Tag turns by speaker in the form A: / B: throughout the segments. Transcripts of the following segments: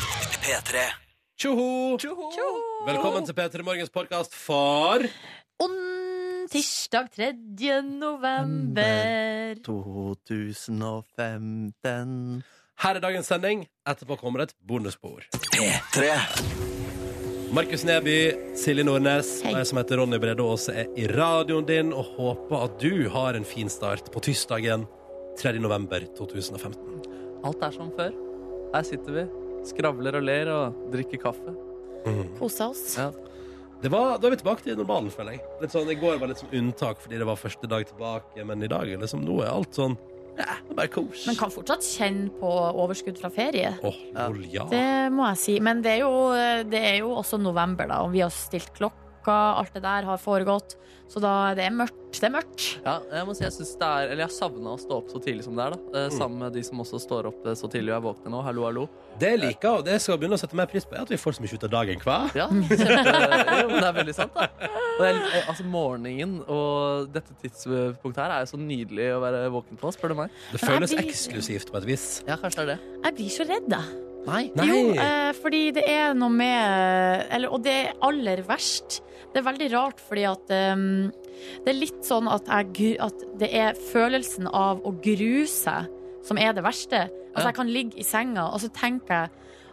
A: P3.
B: Tjoho! Velkommen til P3 Morgens podkast for
C: On tirsdag 3. november.
D: 2015
B: Her er dagens sending. Etterpå kommer et bonusbord.
A: P3.
B: Markus Neby, Silje Nordnes
C: Hei.
B: og jeg som heter Ronny Brede Aase, er i radioen din og håper at du har en fin start på tirsdagen 3. november 2015.
D: Alt er som før. Her sitter vi, skravler og ler og drikker kaffe.
C: Kosa oss.
D: Ja.
B: Det var, da er vi tilbake til normalen, føler jeg. Litt sånn, I går var litt sånn unntak fordi det var første dag tilbake, men i dag er liksom, nå er alt sånn ja, det er bare kos.
C: Men kan fortsatt kjenne på overskudd fra ferie.
B: Åh, lol, ja.
C: Det må jeg si. Men det er jo, det er jo også november, da. Og vi har stilt klokka, alt det der har foregått. Så da det er mørkt. Det er mørkt.
D: Ja, jeg må si jeg synes det er Eller jeg savna å stå opp så tidlig som det er, da. Eh, Sammen med de som også står opp eh, så tidlig og er våkne nå. Hallo, hallo.
B: Det jeg liker, og det jeg skal begynne å sette mer pris på, er at vi får så mye ut av dagen hver.
D: Ja, kjempe, jo, men det er veldig sant, da. Og jeg, eh, altså, morgenen og dette tidspunktet her er jo så nydelig å være våken på, spør du meg.
B: Det
C: Men
B: føles
C: jeg blir-
B: eksklusivt på et vis.
D: Ja, kanskje det er det.
C: Jeg blir så redd, jeg.
D: Nei.
B: Nei.
C: Jo, eh, fordi det er noe med eller, Og det er aller verst. Det er veldig rart, fordi at ehm, Det er litt sånn at, jeg, gru- at det er følelsen av å grue seg som er det verste. Altså,
D: Ja.
C: jeg kan ligge i senga, og så tenker jeg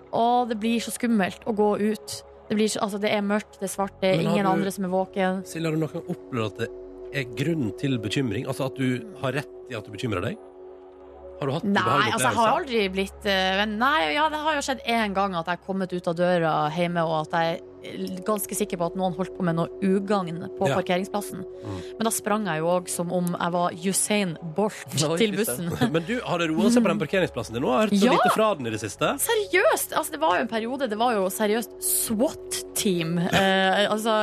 C: Å, det blir så skummelt å gå ut. Det, blir så, altså, det er mørkt, det er svart, det er
B: Men har
C: ingen
B: du-
C: andre som er våken.
B: Silje, har du noen gang opplevd at det er grunn til bekymring? Altså at du har rett i at du bekymrer deg? Har du hatt
C: Nei,
B: ubehagelig
C: altså jeg har
B: opplevelse?
C: aldri blitt eh, venn. Nei, ja, det har jo skjedd én gang at jeg har kommet ut av døra hjemme, og at jeg er ganske sikker på at noen holdt på med noe ugagn på
B: Ja.
C: parkeringsplassen.
B: Mm.
C: Men da sprang jeg jo òg som om jeg var Usain Bolt
D: Oi, sant.
C: til bussen.
B: Men du, har det roa seg på den parkeringsplassen din nå? Jeg har hørt så
C: Ja!
B: lite fra den i det siste.
C: Seriøst! Altså, det var jo en periode, det var jo seriøst SWAT-team eh, altså,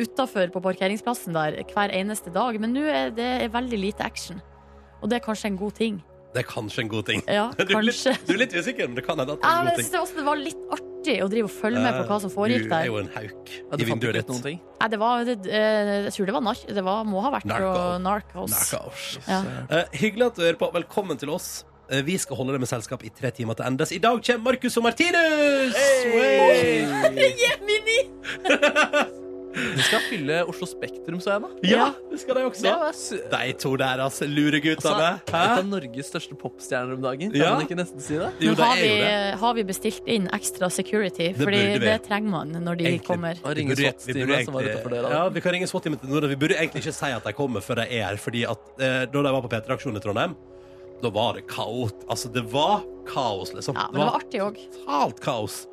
C: utafor på parkeringsplassen der hver eneste dag. Men nå er det veldig lite action. Og det er kanskje en god ting.
B: Det er kanskje en god ting.
C: Ja,
B: Du er litt,
C: kanskje.
B: du er litt usikker, men det kan hende at det er
C: Ja,
B: en god
C: men jeg
B: ting. Eh,
C: synes det også det var litt artig å drive og følge med på hva som foregikk
B: Du er
C: der.
B: jo en hauk
D: Ja,
B: i
D: du fant
B: vinduet
D: ikke ut
B: ditt.
D: noen ting?
C: Nei, det var, det, eh, jeg tror det var nark... Det var, må ha vært
B: Narco.
C: på Narcos.
B: Narkos.
C: Ja.
B: Eh, hyggelig at du hører på. Velkommen til oss. Eh, vi skal holde deg med selskap i tre timer til endes. I dag kommer Marcus og Martinus! Hey!
C: Gemini!
D: Du skal fylle Oslo Spektrum, så jeg nå.
B: Ja, det skal de også.
D: Det var su-
B: De to der, altså. Lureguttene.
D: Altså,
B: Hæ?
D: et av Norges største popstjerner om dagen. Kan
B: Ja.
D: man ikke nesten si det?
B: Jo,
C: Men
B: det
C: har
B: er
C: vi, eh,
B: jo det.
C: har vi bestilt inn ekstra security?
B: Det
C: Fordi
B: burde vi.
C: det trenger man når de
B: Egentlig.
C: kommer.
D: Og ringe
B: Vi burde- vi burde
D: SWAT-teamet som var
B: egentlig-
D: utenfor døra.
B: Ja, vi kan ringe SWAT-teamet til Nordre. Vi burde egentlig ikke si at de kommer før de er her, fordi at eh, da de var på P3-aksjonen i Trondheim, da var det kaos. Altså, det var kaos, liksom.
C: Ja, men det var artig òg.
B: totalt kaos.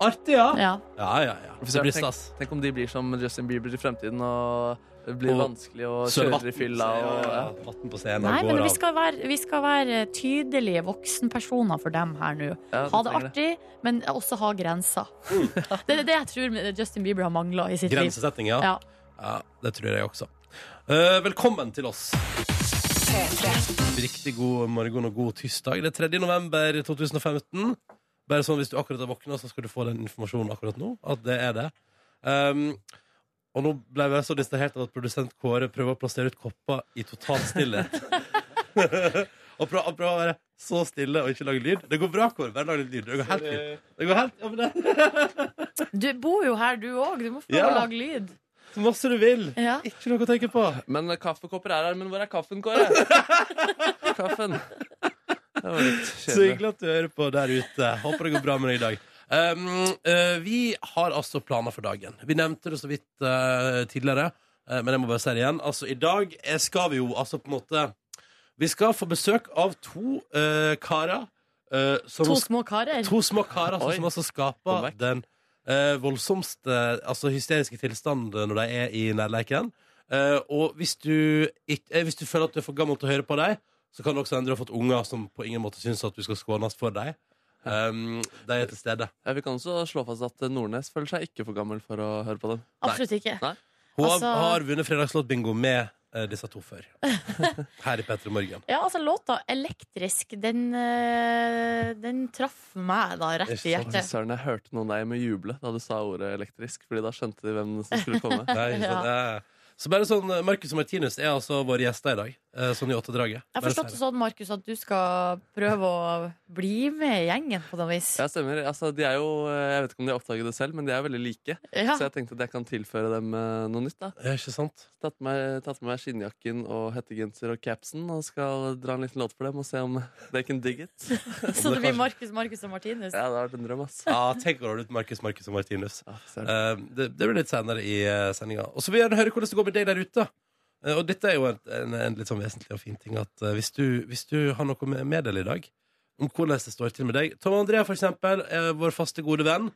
B: Artig, ja.
C: Ja.
B: Ja, ja, ja. Det blir stas.
D: Tenk om de blir som Justin Bieber i fremtiden og det blir
B: Og
D: vanskelig å
B: Sørvatten.
D: kjøre i fylla. Og, ja.
B: Vatten på scenen
C: Nei,
B: og
C: men
B: går
C: vi
B: av.
C: skal være, vi skal være tydelige voksenpersoner for dem her nå.
D: Ja,
C: Ha det
D: trenger
C: artig, men også ha grenser. Det er det jeg tror Justin Bieber har mangla i sitt liv.
B: Grensesetting, ja.
C: Ja.
B: Ja, det tror jeg også. Eh, velkommen til oss. Riktig god morgen og god tirsdag. Det er 3. november 2015. Bare sånn hvis du akkurat har våkna, så skal du få den informasjonen akkurat nå. At det er det. Um, og nå ble jeg så distrahert av at produsent Kåre prøver å plassere ut kopper i total stillhet. og prøver, prøver å være så stille og ikke lage lyd. Det går bra, Kåre. Bare lag litt lyd. Det går helt fint. Det går helt, ja, men det
C: Du bor jo her, du òg. Du må få
B: Ja.
C: lage lyd.
B: så masse du vil.
C: Ja.
B: Ikke noe å tenke på.
D: Men kaffekopper er her, men hvor er kaffen, Kåre? kaffen. Det var litt
B: Så
D: kjedelig.
B: hyggelig at du hører på der ute. Håper det går bra med deg i dag. Um, eh, vi har altså planer for dagen. Vi nevnte det så vidt eh, tidligere, eh, men jeg må bare si det igjen. Altså, I dag eh, skal vi jo altså på en måte Vi skal få besøk av to eh, karer. eh, som,
C: To små karer.
B: to små karer altså,
D: Oi.
B: som altså
D: Kom
B: skaper
D: vekk.
B: den eh, voldsomste altså hysteriske tilstanden når de er i nærleiken. Eh, og hvis du, ikk- eh, hvis du føler at du er for gammel til å høre på dem, så kan det også hende du har fått unger som på ingen måte syns at du skal skånes for dem. Um, de er til stede.
D: Ja, vi kan også slå fast at Nordnes føler seg ikke for gammel for å høre på dem.
C: Absolutt ikke.
B: Hun har-
C: Altså-
B: har vunnet fredagslåtbingo med eh, disse to før. Her i P3 Morgen.
C: Ja, altså låta 'Elektrisk', den, eh, den traff meg da rett
B: Ikke
C: i
B: sant?
D: Fy
C: hjertet.
D: Søren, jeg hørte noen deg med juble da du sa ordet elektrisk, Fordi da skjønte de hvem som skulle komme.
B: Nei, ikke sant? Eh, Så bare sånn, eh, Marcus og Martinus er altså våre gjester i dag. eh, sånn i åttedraget.
C: Jeg har forstått det sånn, Markus, at du skal prøve å bli med i gjengen på noe vis.
D: Ja, stemmer. Altså, de er jo, jeg vet ikke om de har oppdaget det selv, men de er veldig like.
C: Ja.
D: Så jeg tenkte at jeg kan tilføre dem eh, noe nytt. da
C: sånn.
B: Eh, Ikke sant?
D: Tatt med, meg- tatt med meg skinnjakken og hettegenser og capsen og skal dra en liten låt for dem og se om they can dig it.
C: Så det blir Markus, Markus og Martinus.
D: Ja, det har vært en drøm, ass.
B: Ja, tenk å ha ut Markus, Markus og Martinus.
D: Ja, ser du.
B: Eh, det, det blir litt senere i uh, sendinga. Og så vil jeg gjerne høre hvordan det går med deg der ute. Eh, og dette er jo en, en, en litt sånn vesentlig og fin ting at eh, hvis, du, hvis du har noe med, med deg i dag, om hvordan det står til med deg Tom André, for eksempel, er vår faste gode venn,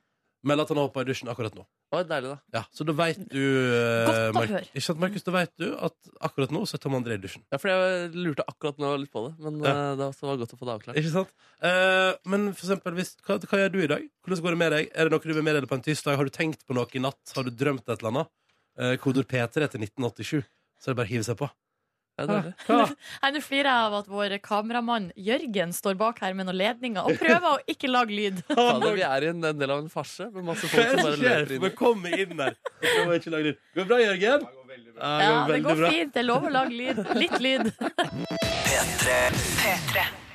B: melder at han har hoppa i dusjen akkurat nå.
D: Å, deilig, da.
B: Ja, så da veit du eh,
C: Godt å
B: Mark-
C: høre.
B: Ikke sant, Markus? Da veit du at akkurat nå så er Tom André i dusjen.
D: Ja, for jeg lurte akkurat nå litt på det, men
B: Ja.
D: eh, det også var godt å få det avklart.
B: Ikke sant? Eh, men for eksempel, hvis, hva, hva gjør du i dag? Hvordan går det med deg? Er det noe du vil meddele på en tirsdag? Har du tenkt på noe i natt? Har du drømt et eller annet? Uh, Kodord P3 til 1987. Så er det bare å hive seg på.
D: Ja, deilig.
B: Ja.
C: Nei, Nå flirer jeg av at vår kameramann Jørgen står bak her med noen ledninger og prøver å ikke lage lyd.
D: Fader, vi er i en, en del av en farse med masse
B: Hva
D: folk som
B: er det
D: bare
B: som skjer?
D: løper inn.
B: Men kom inn der. Jeg må ikke lage lyd. Går det bra, Jørgen? Ja, det
C: Ja,
B: går
C: Det
B: veldig
C: går
B: bra.
C: fint. Det er lov å lage lyd. Litt lyd.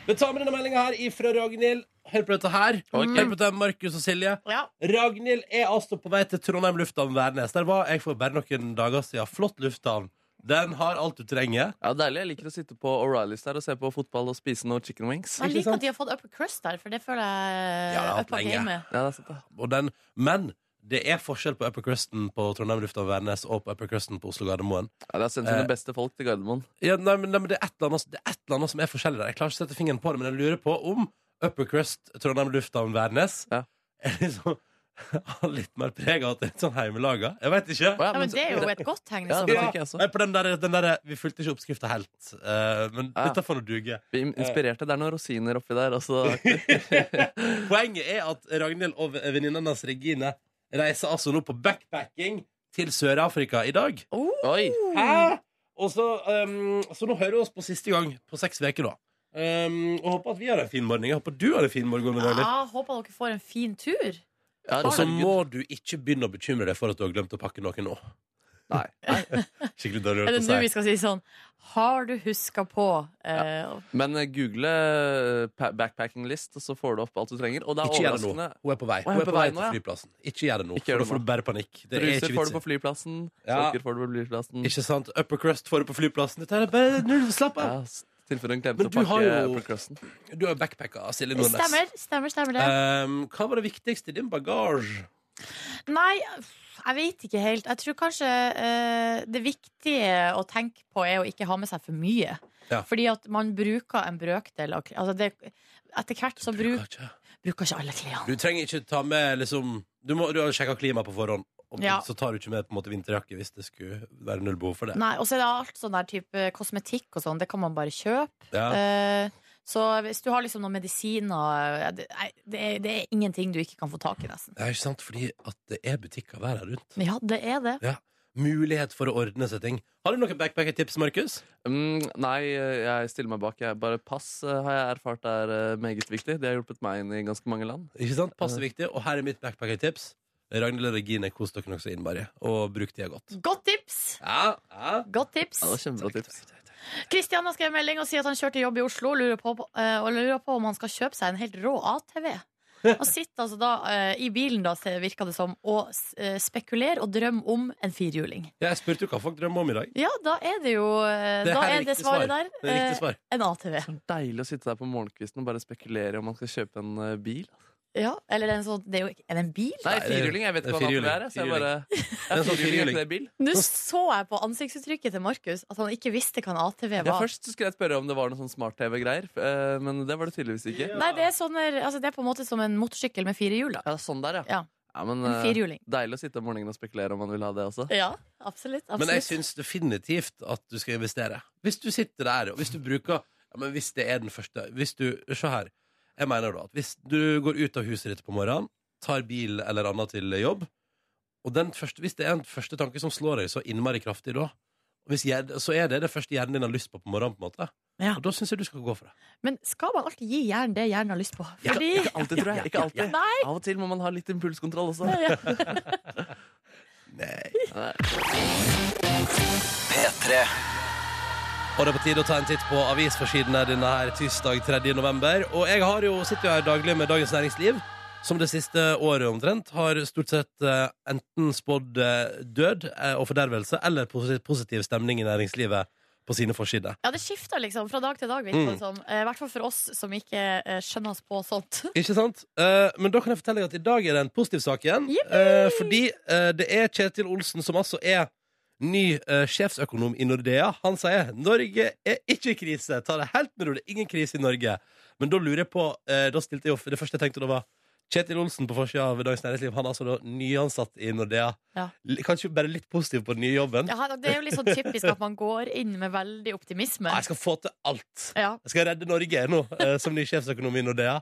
B: Vi tar med denne meldinga her ifra Ragnhild. Hør på dette her.
D: Ok.
B: Hør på dette, Markus og Silje.
C: Ja.
B: Ragnhild er altså på vei til Trondheim lufthavn Værnes. Der var jeg for bare noen dager siden. Flott lufthavn. Den har alt du trenger.
D: Ja, deilig. Jeg liker å sitte på O'Reillys der og se på fotball og spise noe chicken wings.
C: Jeg
B: Ikke
C: liker
B: sant?
C: at de har fått upper crust der, for det føler jeg
B: Ja, det har hatt
C: upper
B: lenge.
C: gamet.
D: Ja, det er sant, da.
B: og den, men det er forskjell på upper crusten på Trondheim lufthavn Værnes og på upper crusten på Oslo Gardermoen.
D: Ja, det er Eh. sendt sine beste folk til Gardermoen.
B: Ja, nei, men, nei, men det, er et eller annet, det er et eller annet som er forskjellig der. Jeg klarer ikke å sette fingeren på det, men jeg lurer på om upper crust Trondheim lufthavn Værnes
D: Ja.
B: er liksom har litt mer preg av at det er litt sånn heimelaga. Jeg vet ikke.
D: Å, ja,
C: Ja, men det er jo et godt tegn.
D: Ja,
C: i så
D: det
C: fall.
D: tenker jeg også.
B: Nei, på den der, den der, vi fulgte ikke oppskrifta helt, eh, men
D: Ja.
B: dette får nå duge.
D: Vi in- inspirerte. Det er noen rosiner oppi der. Også.
B: Poenget er at Ragnhild og venninna hennes Regine reiser altså nå på backpacking til Sør-Afrika i dag.
C: Oh,
D: Oi!
B: Hæ? Og så, um, så nå hører vi oss på siste gang på seks uker, da. Um, og håper at vi har en fin morgen. Jeg håper du har en fin morgen. Ronny.
C: ja, håper dere får en fin tur.
D: Ja,
B: Og så
D: herregud.
B: må du ikke begynne å bekymre deg for at du har glemt å pakke noe nå.
D: Nei.
B: Skikkelig dårlig
C: Er det
B: gjort
C: nå
B: å
C: vi
B: si.
C: skal si sånn Har du huska på eh,
D: Men eh, google eh, pa- backpacking list, og så får du opp alt du trenger. Og det er
B: Ikke gjør det nå.
D: overraskende.
B: Hun er på vei.
D: Å,
B: Hun er på vei til
D: nå, ja.
B: flyplassen. Ikke gjør det nå,
D: Ikke gjør
B: for da
D: det
B: får
D: nå.
B: du bare panikk. Det er
D: Bruser
B: ikke
D: får du på
B: vits.
D: flyplassen.
B: Ja.
D: Sokker får du på flyplassen.
B: Ikke sant? Upper crust får du på flyplassen. Dette er bare null, slapp
D: Ja,
B: av.
D: s- tilfelle hun
B: Men
D: glemte å
B: du har
D: pakke
B: jo-
D: upper crusten.
B: Du er backpacker, Silje Nordnes.
C: Stemmer, stemmer, stemmer det.
B: Um, hva var det viktigste i din bagasje?
C: Nei, jeg vet ikke helt. Jeg tror kanskje eh, det viktige å tenke på er å ikke ha med seg for mye.
B: Ja.
C: Fordi at man bruker en brøkdel av klær. Altså det, etter hvert så bruk,
B: Bagasje.
C: bruker ikke alle klærne.
B: Du trenger ikke ta med liksom Du, må, du har sjekka klimaet på forhånd, og
C: Ja.
B: så tar du ikke med på en måte vinterjakke hvis det skulle være null behov for det.
C: Nei, og så er det alt sånn der type kosmetikk og sånn. Det kan man bare kjøpe.
B: Ja.
C: Eh, så hvis du har liksom noen medisiner eh, det, nei, det, er, det er ingenting du ikke kan få tak i, nesten.
B: Det er ikke sant, fordi at det er butikker hver her rundt.
C: Ja, det er det.
B: Mulighet for å ordne seg ting. Har du noen backpacker-tips, Markus?
D: Mm, nei, eh, jeg stiller meg bak. Jeg bare pass eh, har jeg erfart er eh, meget viktig. Det har hjulpet meg inn i ganske mange land.
B: Ikke sant? Passe viktig. Og her er mitt backpacker-tips. Ragnhild og Regine, kos dere nokså innmari, og bruk tida godt.
C: Godt tips!
B: Ja, ja.
C: Godt tips.
D: Ja, det var kjempebra tips.
C: Kristian har skrevet melding og sier at han kjørte jobb i Oslo og lurer, på, eh, og lurer på om han skal kjøpe seg en helt rå ATV. Han sitter altså da eh, i bilen, da, ser- virker det som, og uh, spekulerer og drømmer om en firhjuling.
B: Jeg spurte jo hva folk drømmer om i dag.
C: Ja, da er det jo eh,
B: Det
C: Da
B: her er
C: er det
B: riktig
C: svaret
B: svar.
C: der.
B: Det er riktig
C: eh,
B: svar.
C: en ATV.
D: Så deilig å sitte der på morgenkvisten og bare spekulere om man skal kjøpe en eh, bil.
C: Ja, eller en sånn Det er jo ikke Er det en bil?
D: Nei,
B: det er-
D: firhjuling. Jeg vet ikke hva
B: det er
D: det er. Så jeg bare
B: er
D: ja,
B: sånn
D: firhjuling er
B: firhjuling.
D: ikke det bil.
C: Nå så jeg på ansiktsuttrykket til Markus at han ikke visste hva en ATV
D: Ja,
C: var.
D: først skulle jeg spørre om det var noe sånn smart-TV-greier, f- eh, men det var det tydeligvis ikke.
B: Ja.
D: Ja,
C: Nei, det er, sånne, altså, det er på en måte som en motorsykkel med fire hjul. da.
D: sånn der, ja.
C: Ja.
D: men,
C: En
D: eh,
C: firhjuling.
D: deilig å sitte om morgenen og spekulere om man vil ha det også.
C: Ja, absolutt. absolutt.
B: Men jeg syns definitivt at du skal investere. Hvis du sitter der, og hvis du bruker ja, men Hvis det er den første hvis du, Se her. Jeg mener da at hvis du går ut av huset ditt på morgenen, tar bil eller annet til jobb, og den første, hvis det er en første tanke som slår deg så innmari kraftig da, hvis hjer- så er det det første hjernen din har lyst på på morgenen, på en måte.
C: Ja.
B: Og da syns jeg du skal gå for det.
C: Men skal man alltid gi hjernen det hjernen har lyst på?
B: Ja,
C: Fordi
D: Ikke alltid, tror jeg. Ikke alltid.
C: Nei!
D: Av og til må man ha litt impulskontroll også.
B: Nei. Og det er på tide å ta en titt på avisforsidene denne her tirsdag 3. november. Og jeg har jo, sitter jo her daglig med Dagens Næringsliv, som det siste året omtrent har stort sett eh, enten spådd eh, død eh, og fordervelse eller posi- positiv stemning i næringslivet på sine forsider.
C: Ja, det skifter liksom fra dag til dag, virker
B: Mm.
C: det som. Eh, I hvert fall for oss som ikke eh, skjønner oss på sånt.
B: Ikke sant? Eh, men da kan jeg fortelle deg at i dag er det en positiv sak igjen. eh, fordi eh, det er Kjetil Olsen som altså er ny eh, sjefsøkonom i Nordea. Han sier Norge er ikke i krise. Ta det helt med ro. Det er ingen krise i Norge. Men da lurer jeg på eh, Da stilte jeg jo Det første jeg tenkte da var Kjetil Olsen på forsida av Dagens Næringsliv. Han er altså da nyansatt i Nordea.
C: Ja.
B: L- Kanskje bare litt positiv på den nye jobben.
C: Ja, det er jo litt sånn typisk at man går inn med veldig optimisme.
B: Jeg skal få til alt.
C: Ja.
B: Jeg skal redde Norge nå, eh, som ny sjefsøkonom i Nordea.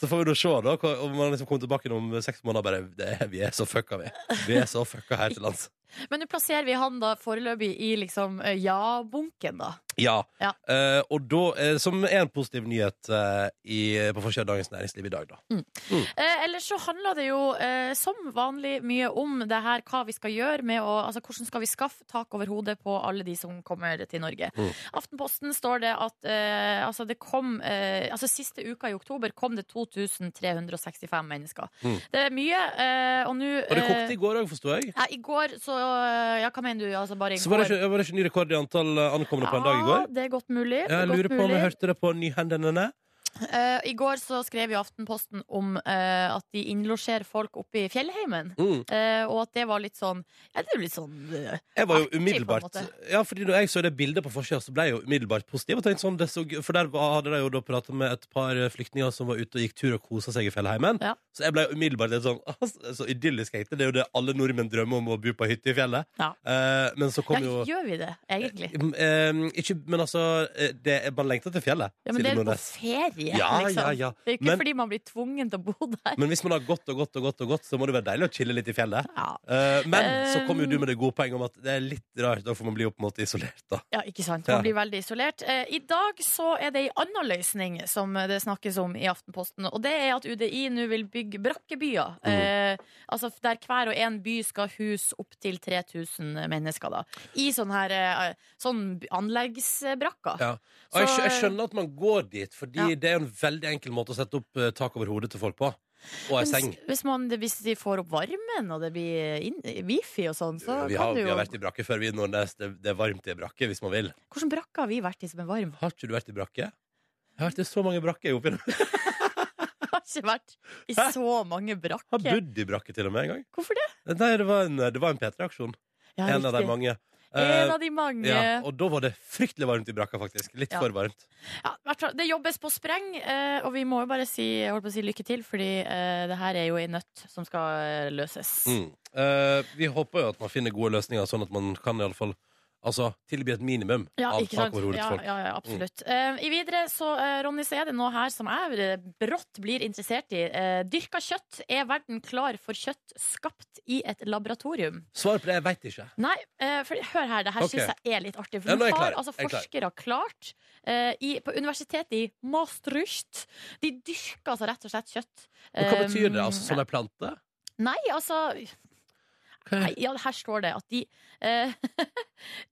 B: Så får vi da se da, hva- om man liksom kommer tilbake igjen om seks måneder og bare det, er- Vi er så fucka, vi. Vi er så fucka her til lands.
C: Men nå plasserer vi han da foreløpig i liksom eh, ja-bunken, da.
B: Ja.
C: Ja.
B: Eh, og da, eh, som er en positiv nyhet eh, i, på forsiden av Dagens Næringsliv i dag, da.
C: Eh, ellers så handler det jo eh, som vanlig mye om det her hva vi skal gjøre med å Altså hvordan skal vi skaffe tak over hodet på alle de som kommer til Norge.
B: Mm.
C: Aftenposten står det at eh, altså det kom eh, Altså siste uka i oktober kom det 2365 mennesker.
B: Mm.
C: Det er mye, eh, og nå
B: Og det kokte
C: eh,
B: i går òg, forsto jeg.
C: ja, I går så Ja, hva mener du? Altså bare i
B: Så var det,
C: går?
B: ikke, var det ikke ny rekord i antall eh, ankomne på en dag i
C: Ja,
B: går?
C: det er godt mulig. det er
B: Jeg
C: godt
B: lurer på om jeg
C: mulig.
B: hørte det på nyhendene.
C: Eh, I går så skrev jo Aftenposten om eh, at de innlosjerer folk oppe i fjellheimen.
B: Mm.
C: Eh, og at det var litt sånn Ja, det er jo litt sånn eh,
B: Jeg var jo
C: Artig, på
B: umiddelbart
C: en
B: Ja, fordi når jeg så det bildet på forsida, så ble jeg jo umiddelbart positiv. Og tenkte sånn, det så, gøy- for der var- hadde de jo da prata med et par eh, flyktninger som var ute og gikk tur og kosa seg i fjellheimen.
C: Ja.
B: Så jeg ble jo umiddelbart litt sånn «Ah, Så idyllisk, egentlig. Det er jo det alle nordmenn drømmer om, å bo på hytte i fjellet.
C: Ja.
B: Eh, men så kom
C: Ja,
B: jo
C: gjør vi det, egentlig?
B: Mm, eh, ikke, men altså eh, det, er- Man lengter til fjellet.
C: Ja,
B: Silje
C: men det er jo på
B: Nordnes.
C: ferie,
B: ja,
C: liksom.
B: ja, ja.
C: Det er jo ikke
B: Men-
C: fordi man blir tvungen til å bo der.
B: Men hvis man har gått og gått og gått, og gått så må det være deilig å chille litt i fjellet.
C: Ja,
B: Eh, men så
C: Eh,
B: kom jo du med det gode poenget om at det er litt rart. Da får man bli jo på en måte isolert, da.
C: ja ikke sant.
B: Ja.
C: Man blir veldig isolert. Eh, I dag så er det ei anna løsning som det snakkes om i Aftenposten, og det er at UDI nå vil bygge brakkebyer.
B: Mm.
C: Eh, altså der hver og en by skal huse opptil 3000 mennesker, da. I sånn her eh, sånn anleggsbrakker.
B: Ja. Og jeg,
C: Så, eh,
B: skj- jeg skjønner at man går dit, fordi
C: Ja.
B: det er jo en veldig enkel måte å sette opp eh, tak over hodet til folk på. Og ei
C: Men
B: seng.
C: s- Hvis, man, hvis de får opp varmen, og det blir inn, wifi og sånn, så
B: Vi har,
C: kan du
B: vi
C: jo
B: har vært i brakke før. vi i Nordnes. Det, det er varmt i brakke hvis man vil.
C: Hvordan brakke har vi vært i som er varm?
B: Har ikke du vært i brakke? Jeg har vært i så mange brakker. Jeg opp igjennom.
C: Jeg har ikke vært i
B: Hæ?
C: så mange
B: har
C: brakker.
B: bodd i brakke til og med en gang.
C: Hvorfor det?
B: Nei, det var en, det var en P3-aksjon.
C: Ja,
B: En av de
C: riktig.
B: mange. Eh,
C: En av de mange.
B: ja, og da var det fryktelig varmt i brakka, faktisk. Litt
C: Ja.
B: for varmt.
C: Ja, hvert fall, det jobbes på spreng, eh, og vi må jo bare si, jeg holdt på å si lykke til, fordi eh, det her er jo ei nøtt som skal eh, løses.
B: Mm. Eh, vi håper jo at man finner gode løsninger, sånn at man kan iallfall altså, tilby et minimum
C: Ja,
B: av
C: ikke sant?
B: tak over hodet
C: ja,
B: til folk. Mm.
C: ja, ja, absolutt. Eh, I videre, så eh, Ronny, så er det noe her som jeg eh, brått blir interessert i. Eh, dyrka kjøtt. Er verden klar for kjøtt skapt i et laboratorium?
B: Svar på det, jeg veit ikke.
C: Nei, eh, for hør her, det her
B: Ok.
C: syns jeg er litt artig. For
B: Ja, nå er
C: nå
B: jeg
C: har
B: klar.
C: altså
B: Jeg er klar.
C: forskere klart, eh, i, på universitetet i Maastricht De dyrker altså rett og slett kjøtt.
B: Men hva
C: Eh,
B: betyr det? Altså, sånn ei plante?
C: Nei, altså Nei,
B: Mm.
C: ja, her står det at de, eh,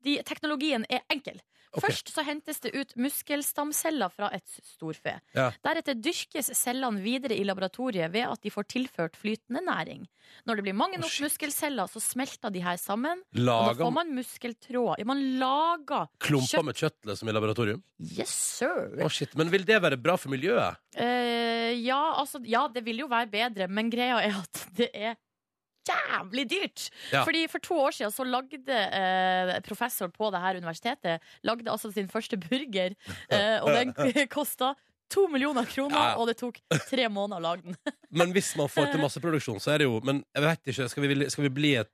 C: de Teknologien er enkel.
B: Ok.
C: Først så hentes det ut muskelstamceller fra et storfe.
B: Ja.
C: Deretter dyrkes cellene videre i laboratoriet ved at de får tilført flytende næring. Når det blir mange
B: Å,
C: nok
B: shit.
C: muskelceller, så smelter de her sammen. Og da
B: Lager
C: får man muskeltråd. Ja, man lager
B: klumper
C: kjøtt.
B: med kjøtt liksom, i laboratorium?
C: Yes, sir!
B: Å, shit. Men vil det være bra for miljøet?
C: Eh, ja, altså, ja, det vil jo være bedre, men greia er at det er jævlig dyrt!
B: Ja.
C: Fordi For to år siden så lagde eh, professor på det her universitetet Lagde altså sin første burger, eh, og den kosta to millioner kroner,
B: Ja, ja.
C: og det tok tre måneder å lage den.
B: Men hvis man får
C: Eh.
B: til masseproduksjon, så er det jo Men jeg vet ikke, skal vi, skal vi bli et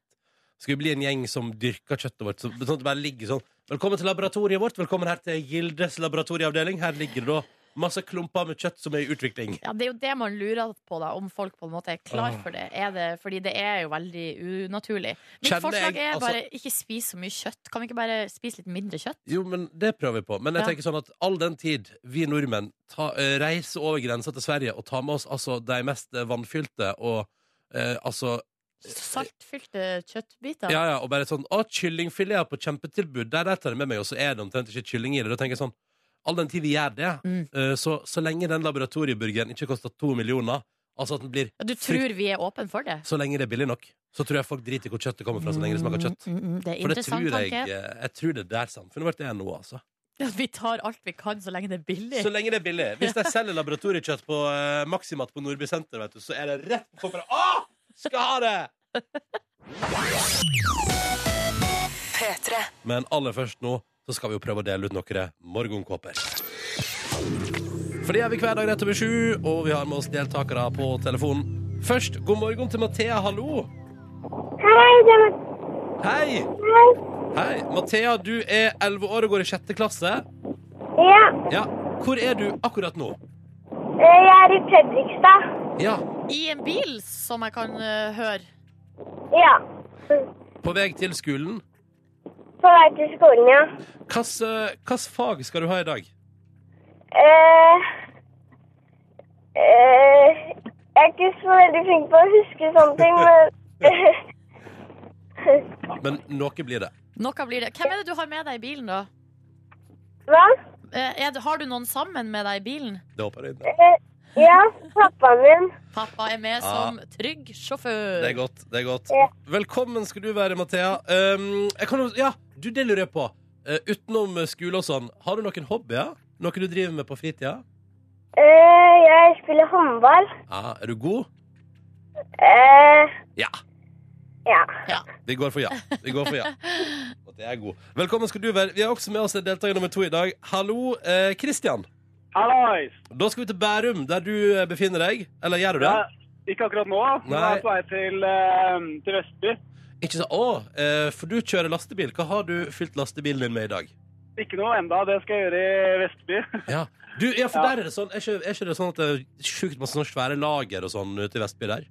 B: skal vi bli en gjeng som dyrker kjøttet vårt? Så, sånn at det bare ligger sånn Velkommen til laboratoriet vårt. Velkommen her til Gildes laboratorieavdeling. Her ligger det da masse klumper med kjøtt som er i utvikling.
C: Ja, Det er jo det man lurer på, da, om folk på en måte er klar
B: Åh.
C: for det. Er det fordi det er jo veldig unaturlig. Mitt
B: Kjenner
C: forslag
B: jeg-
C: er
B: altså-
C: bare ikke spis så mye kjøtt. Kan vi ikke bare spise litt mindre kjøtt?
B: Jo, men det prøver vi på. Men jeg
C: Ja.
B: tenker sånn at all den tid vi nordmenn ta, eh, reiser over grensa til Sverige og tar med oss altså de mest eh, vannfylte og eh, altså
C: Saltfylte kjøttbiter.
B: Ja, ja, og bare sånn Å, kyllingfileter på kjempetilbud. Der, der tar jeg med meg, og så er det omtrent ikke kylling i det. Da tenker jeg sånn All den tid vi gjør det,
C: Mm.
B: eh, så, så lenge den laboratorieburgeren ikke koster to millioner, altså at den blir
C: Du tror vi er åpne for det?
B: så lenge det er billig nok, så tror jeg folk driter i hvor kjøttet kommer fra, så lenge det smaker kjøtt.
C: Mm, mm, mm. Det er
B: For det tror
C: interessant
B: jeg,
C: tanke.
B: eh, jeg tror det er der samfunnet vårt er nå, altså.
C: At vi tar alt vi kan så lenge det er billig.
B: Så lenge det er billig. Hvis de selger laboratoriekjøtt på eh, Maximat på Nordby senter, vet du, så er det rett på koppen. Å! Skal ha det! Men aller først nå så skal vi jo prøve å dele ut noen eh, morgenkåper. For det gjør vi hver dag rett over sju, og vi har med oss deltakere på telefonen. Først, god morgen til Mathea, hallo!
A: Hei, det er
B: Hei!
A: Mathias.
B: Hei, Mathea, du er 11 år og går i sjette klasse.
A: Ja,
B: Ja, hvor er du akkurat nå?
A: eh, jeg er i Fredrikstad.
B: Ja,
C: I en bil, som jeg kan eh, høre.
A: Ja,
B: på vei til skolen.
A: på vei til skolen, ja.
B: Hvilket fag skal du ha i dag?
A: Eh, eh, jeg er ikke så veldig flink på å huske sånne ting, men
B: Men noe blir det.
C: Noe blir det. Hvem er det du har med deg i bilen, da?
A: Hva?
C: Eh, Er det, har du noen sammen med deg i bilen?
B: Det håper jeg inn.
A: Eh, ja, pappaen min.
C: Pappa er med
B: Ja.
C: som trygg sjåfør.
B: Ah. Det er godt. det er godt
A: Ja.
B: Velkommen skal du være, Mathea. Um, jeg kan, jo- ja, du, det lurer jeg på. Eh, utenom skole og sånn, har du noen hobbyer? Noe du driver med på fritida?
A: Eh, jeg spiller håndball.
B: Ja, Ah, er du god?
A: Eh,
B: Ja.
A: ja.
B: Vi går for ja. Vi går for ja. Mathea er god. Velkommen skal du være. Vi har også med oss en deltaker nummer to i dag. Hallo, eh, Christian.
E: Hallois!
B: Da skal vi til Bærum, der du eh, befinner deg. Eller gjør du det?
E: Ja, Eh, ikke akkurat nå. Nå er
B: Nei.
E: jeg på vei til, eh, til Vestby.
B: Ikke sånn, å, eh, for du kjører lastebil. Hva har du fylt lastebilen din med i dag?
E: Ikke noe enda, det skal jeg gjøre i Vestby.
B: Ja, du, ja for
E: Ja.
B: der er det sånn er ikke, er ikke det sånn at det er sjukt masse sånne svære lager og sånn ute i Vestby der?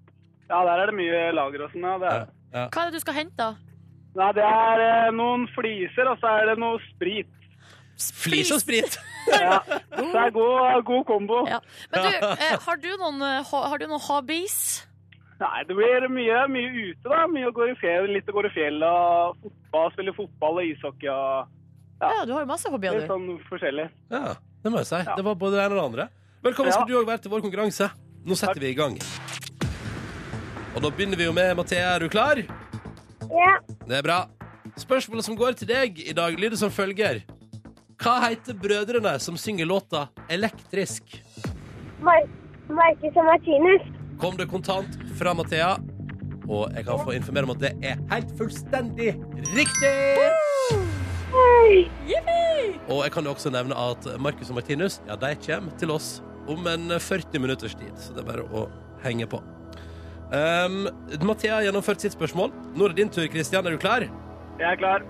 E: Ja, der er det mye lager og sånn. Ja. Det,
B: Ja.
E: er.
B: Ja.
C: Hva er det du skal hente, da?
E: Nei, det er eh, noen fliser, og så er det noe sprit.
B: Flis og sprit!
E: Ja. Så det er god, god kombo.
C: Ja. Men du, eh, har du noen, eh, ho- har du noen hobbies?
E: Nei, det blir mye, mye ute, da. Mye å gå i fjell, litt å gå i fjell og fotball, spille fotball og ishockey og Ja.
C: Ja, du har jo masse hobbyer,
E: litt
C: du.
E: sånn forskjellig.
B: Ja, det må jeg si. Det var både det ene og det andre. Velkommen skal
E: Ja.
B: du òg være til vår konkurranse. Nå setter vi i gang. Og da begynner vi jo med Mathea, er du klar?
A: Ja,
B: Det er bra. Spørsmålet som går til deg i dag, lyder som følger. Hva heter brødrene som synger låta 'Elektrisk'?
A: Mar Marcus og Martinus.
B: kom det kontant fra Mathea. Og jeg kan få informere om at det er helt fullstendig riktig!
A: Hei.
B: Og jeg kan jo også nevne at Markus og Martinus ja, de kommer til oss om en 40 minutters tid. Så det er bare å henge på. Um, Mathea har gjennomført sitt spørsmål. Nå er det din tur, Kristian. Er du klar?
E: Jeg er klar.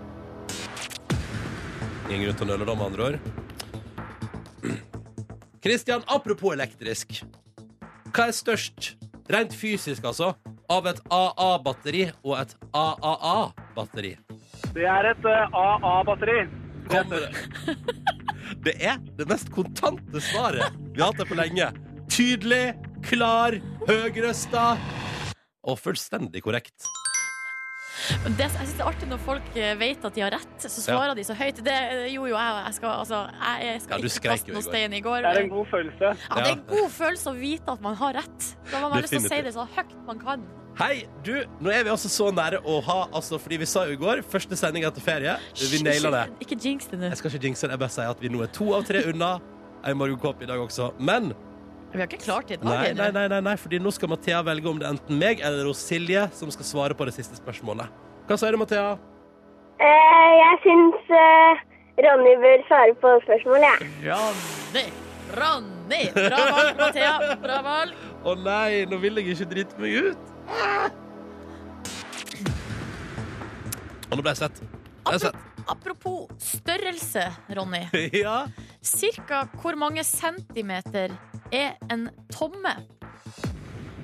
B: Ingen grunn til å nøle da, med andre ord. Kristian, apropos elektrisk. Hva er størst, rent fysisk altså, av et AA-batteri og et AAA-batteri?
E: Det er et eh, AA-batteri.
B: Kommer det? Det er det mest kontante svaret vi har hatt her på lenge. Tydelig, klar, høgrøsta og fullstendig korrekt.
C: Men Det, jeg synes det er artig når folk eh, vet at de har rett, så svarer de så høyt. Det eh, gjorde jo jeg. og Jeg skal, altså, jeg, jeg
B: Ja,
C: skal
B: du
C: ikke
B: skrek jo i
C: kaste noen
B: går.
C: stein i går.
E: Det er en god følelse.
C: Ja, det er en
B: Ja.
C: god følelse å vite at man har rett. Da må man lyst til å si det så høyt man kan.
B: Hei, du, nå er vi altså så nære å ha, altså, fordi vi sa jo i går, første sending etter ferie, vi naila det.
C: Ikke jinx det nå.
B: Jeg skal ikke jinxe det, jeg bare sier at vi nå er to av tre unna. En morgenkåpe i dag også. Men
C: Vi har ikke klart det i dag
B: nei, nei,
C: ennå.
B: nei, nei, nei fordi nå skal Mathea velge om det er enten meg eller hos Silje som skal svare på det siste spørsmålet. Hva sier du, Mathea?
A: Eh, jeg syns eh, Ronny bør svare på spørsmålet, jeg.
C: Ronny! Ronny! Bra valg, Mathea. Bra valg.
B: Å nei, nå vil jeg ikke drite meg ut. Ah! Og nå ble jeg svett. Jeg er svett.
C: Apropos størrelse, Ronny.
B: Ja.
C: Cirka hvor mange centimeter er en tomme?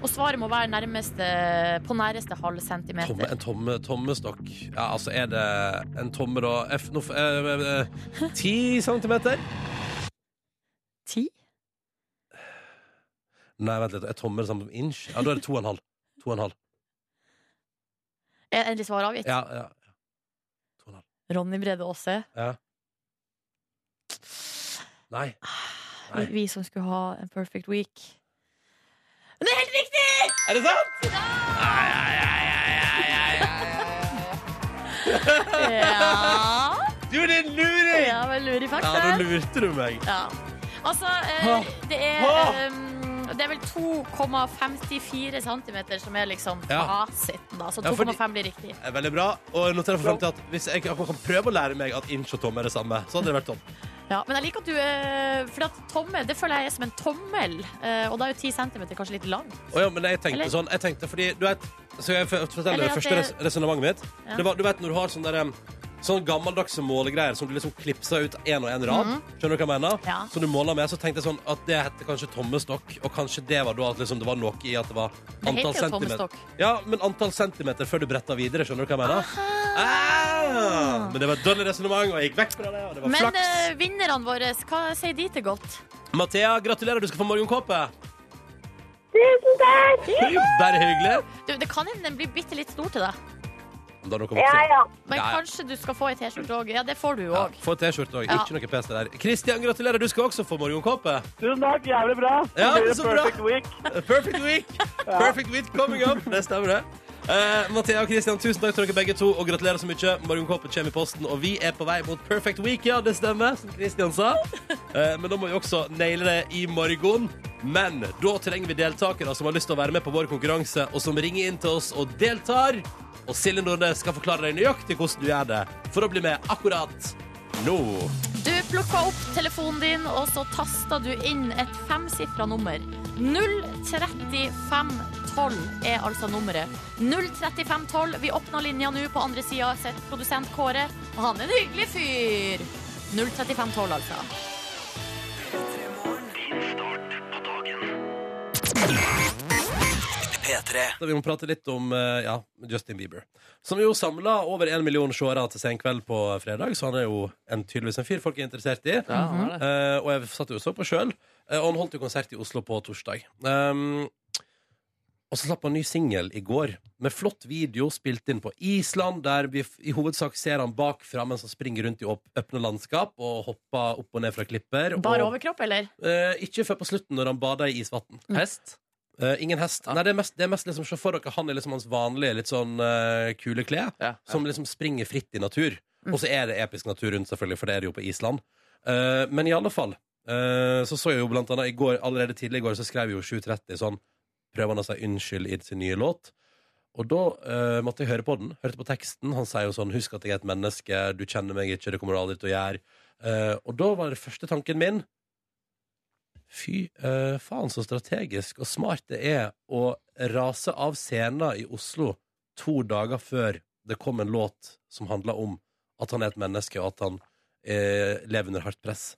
C: Og svaret må være nærmeste, på næreste halv
B: Tomme,
C: centimeter.
B: en tomme, tommestokk. Ja, altså, er det en tomme, da? F, nå, f, eh, eh, eh, ti centimeter?
C: Ti?
B: Nei, vent litt. Er tomme det samme som inch? Ja, da er det to og en halv. To og en halv.
C: Er endelig svar avgitt?
B: Ja, ja.
C: Ronny Brede Aase.
B: Nei. Nei.
C: Vi som skulle ha en perfect week. Men det er helt riktig!
B: Er det sant?
C: Ja,
B: Du, din luring!
C: ja men lurer i
B: Ja,
C: fakta.
B: nå lurte du meg.
C: Ja. Altså, eh, det er eh, Det er vel 2,54 cm som er liksom
B: Ja.
C: fasiten, da. Så
B: Ja, fordi-
C: 2,5 blir riktig.
B: Eh, Veldig bra. Og jeg noterer for frem til at hvis jeg, jeg kan prøve å lære meg at inch og tomme er det samme, så hadde det vært topp.
C: Ja, men jeg liker at du eh, For at tommel, det føler jeg er som en tommel. eh, og da er jo 10 cm kanskje litt lang.
B: Og ja, men jeg tenkte
C: Eller-
B: sånn, jeg tenkte fordi, du vet, så jeg får fortelle
C: Eller
B: det
C: at
B: første
C: det-
B: res resonnementet mitt.
C: Ja.
B: Det var, du vet når du har sånn der, em, sånn gammeldagse målegreier som du liksom klipser ut en og en rad, skjønner du hva jeg mener?
C: Mhm. Ja.
B: Så du måler med, så tenkte jeg sånn at det hette kanskje tommestokk, og kanskje det var da at liksom, det var noe i at det var
C: Det
B: antall
C: heter jo
B: centimeter.
C: tommestokk.
B: Ja, men antall centimeter før du bretter videre, skjønner du hva jeg mener? Ah! Men det var et dårlig resonnement, og jeg gikk vekk fra det, og det var
C: Men
B: flaks.
C: eh, vinnerne våre, hva sier de til godt?
B: Mathea, gratulerer, du skal få morgenkåpe.
A: Tusen takk!
B: Bare hyggelig.
C: Du, det kan hende den blir bitte litt stor til deg.
B: Da er noe
A: Ja,
B: voksen.
A: ja.
C: Men
B: Ja, ja.
C: kanskje du skal få ei T-skjorte òg. Ja, det får du
B: Ja,
C: òg.
B: få T-skjorte òg.
C: Ja.
B: Ikke noe PC der. Kristian, gratulerer. Du skal også få morgenkåpe.
E: Tusen takk, jævlig bra.
B: Ja,
E: blir det
B: så bra.
E: Perfect week.
B: Perfect week! Perfect week coming up. Det stemmer, det. Eh, Mathea og Kristian, tusen takk til dere begge to, og gratulerer så mye. Morgenkåpen kommer i posten, og vi er på vei mot perfect week, ja, det stemmer, som Kristian sa. Eh, men da må vi også naile det i morgen. Men da trenger vi deltakere som har lyst til å være med på vår konkurranse, og som ringer inn til oss og deltar. Og Silje Nordnes skal forklare deg nøyaktig hvordan du gjør det for å bli med akkurat nå.
C: Du plukka opp telefonen din, og så tasta du inn et femsifra nummer. 03512 er altså nummeret. 03512. Vi åpna linja nå. På andre sida sitter produsent Kåre, og han er en hyggelig fyr. 03512, altså.
B: Da vi må prate litt om eh, ja, Justin Bieber. Som jo samla over en million seere til Senkveld på fredag, så han er jo en, tydeligvis en fyr folk er interessert i.
D: Ja, han
C: Mhm.
D: er det.
B: Eh, og jeg satt jo og så på sjøl. og han holdt jo konsert i Oslo på torsdag. Um, og så slapp han ny singel i går, med flott video spilt inn på Island, der vi f- i hovedsak ser han bakfra mens han springer rundt i åp- åpne landskap og hopper opp og ned fra klipper.
C: Bare
B: og,
C: overkropp, eller?
B: eh, ikke før på slutten, når han bader i isvann.
D: Hest?
B: Eh, ingen hest. Nei, det er mest, det er mest liksom, se for dere han er liksom hans vanlige, litt sånn uh, kule kle,
D: Ja.
B: som liksom springer fritt i natur. Og så er det episk natur rundt, selvfølgelig, for det er det jo på Island. Eh, men i alle fall, eh, så så jeg jo blant annet i går, allerede tidlig i går, så skrev jo 7.30 sånn Prøver han å si unnskyld i sin nye låt? Og da eh, måtte jeg høre på den. Hørte på teksten. Han sier jo sånn 'Husk at jeg er et menneske. Du kjenner meg ikke. Det kommer du aldri til å gjøre.' Eh, og da var det første tanken min Fy eh, faen, så strategisk og smart det er å rase av scenen i Oslo to dager før det kom en låt som handla om at han er et menneske, og at han eh, lever under hardt press.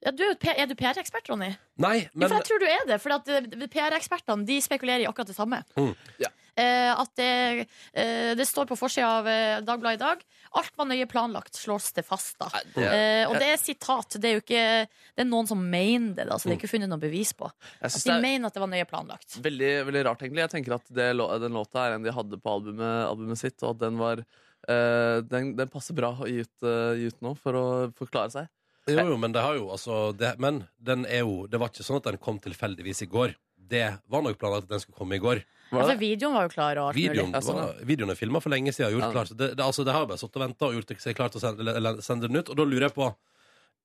C: Ja, du, er jo P- er du PR-ekspert, Ronny?
B: Nei,
C: Ja,
B: men
C: for jeg tror du er det, for at eh, PR-ekspertene de spekulerer i akkurat det samme.
B: Mm.
D: Ja.
C: Eh, at det, eh, det står på forsida av eh, Dagbladet i dag Alt var nøye planlagt, slås det fast. da
D: Nei, det,
C: eh, Og det er sitat. Det er jo ikke Det er noen som mener det, da, så det er ikke funnet noe bevis på.
D: Mm. jeg
C: At
D: synes
C: de
D: det er
C: mener at det var nøye planlagt.
D: veldig, veldig rart, egentlig. Jeg tenker at det, lå- den låta er en de hadde på albumet, albumet sitt, og at den var eh, den, den passer bra å gi ut, eh, gi ut nå, for å forklare seg.
B: Jo, jo, men det har jo altså det, Men den er jo Det var ikke sånn at den kom tilfeldigvis i går. Det var nok planlagt at den skulle komme i går.
D: Var
C: Altså,
D: det?
C: videoen var jo klar. og alt
B: Videoen,
C: mulig. Altså,
D: Ja, sånn, ja.
B: var, videoen er filma for lenge siden. og Gjort
D: Ja.
B: klart. Det, det, altså, det har jo bare sittet og venta og gjort seg klart til å sende, eller- eller sende den ut. Og da lurer jeg på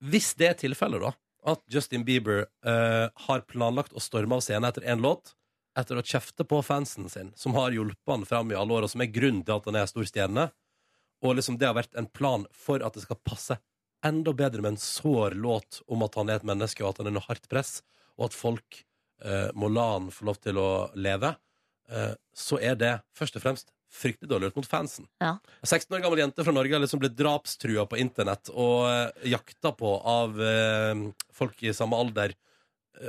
B: Hvis det er tilfellet, da, at Justin Bieber eh, har planlagt å storme av scenen etter én låt etter å kjefte på fansen sin, som har hjulpet han fram i alle år, og som er grunnen til at han er stor stjerne, og liksom det har vært en plan for at det skal passe enda bedre med en sår låt om at han er et menneske, og at han er under hardt press, og at folk eh, må la han få lov til å leve, eh, så er det først og fremst fryktelig dårlig gjort mot fansen.
C: Ja.
B: En 16 år gammel jente fra Norge har liksom blitt drapstrua på internett og eh, jakta på av eh, folk i samme alder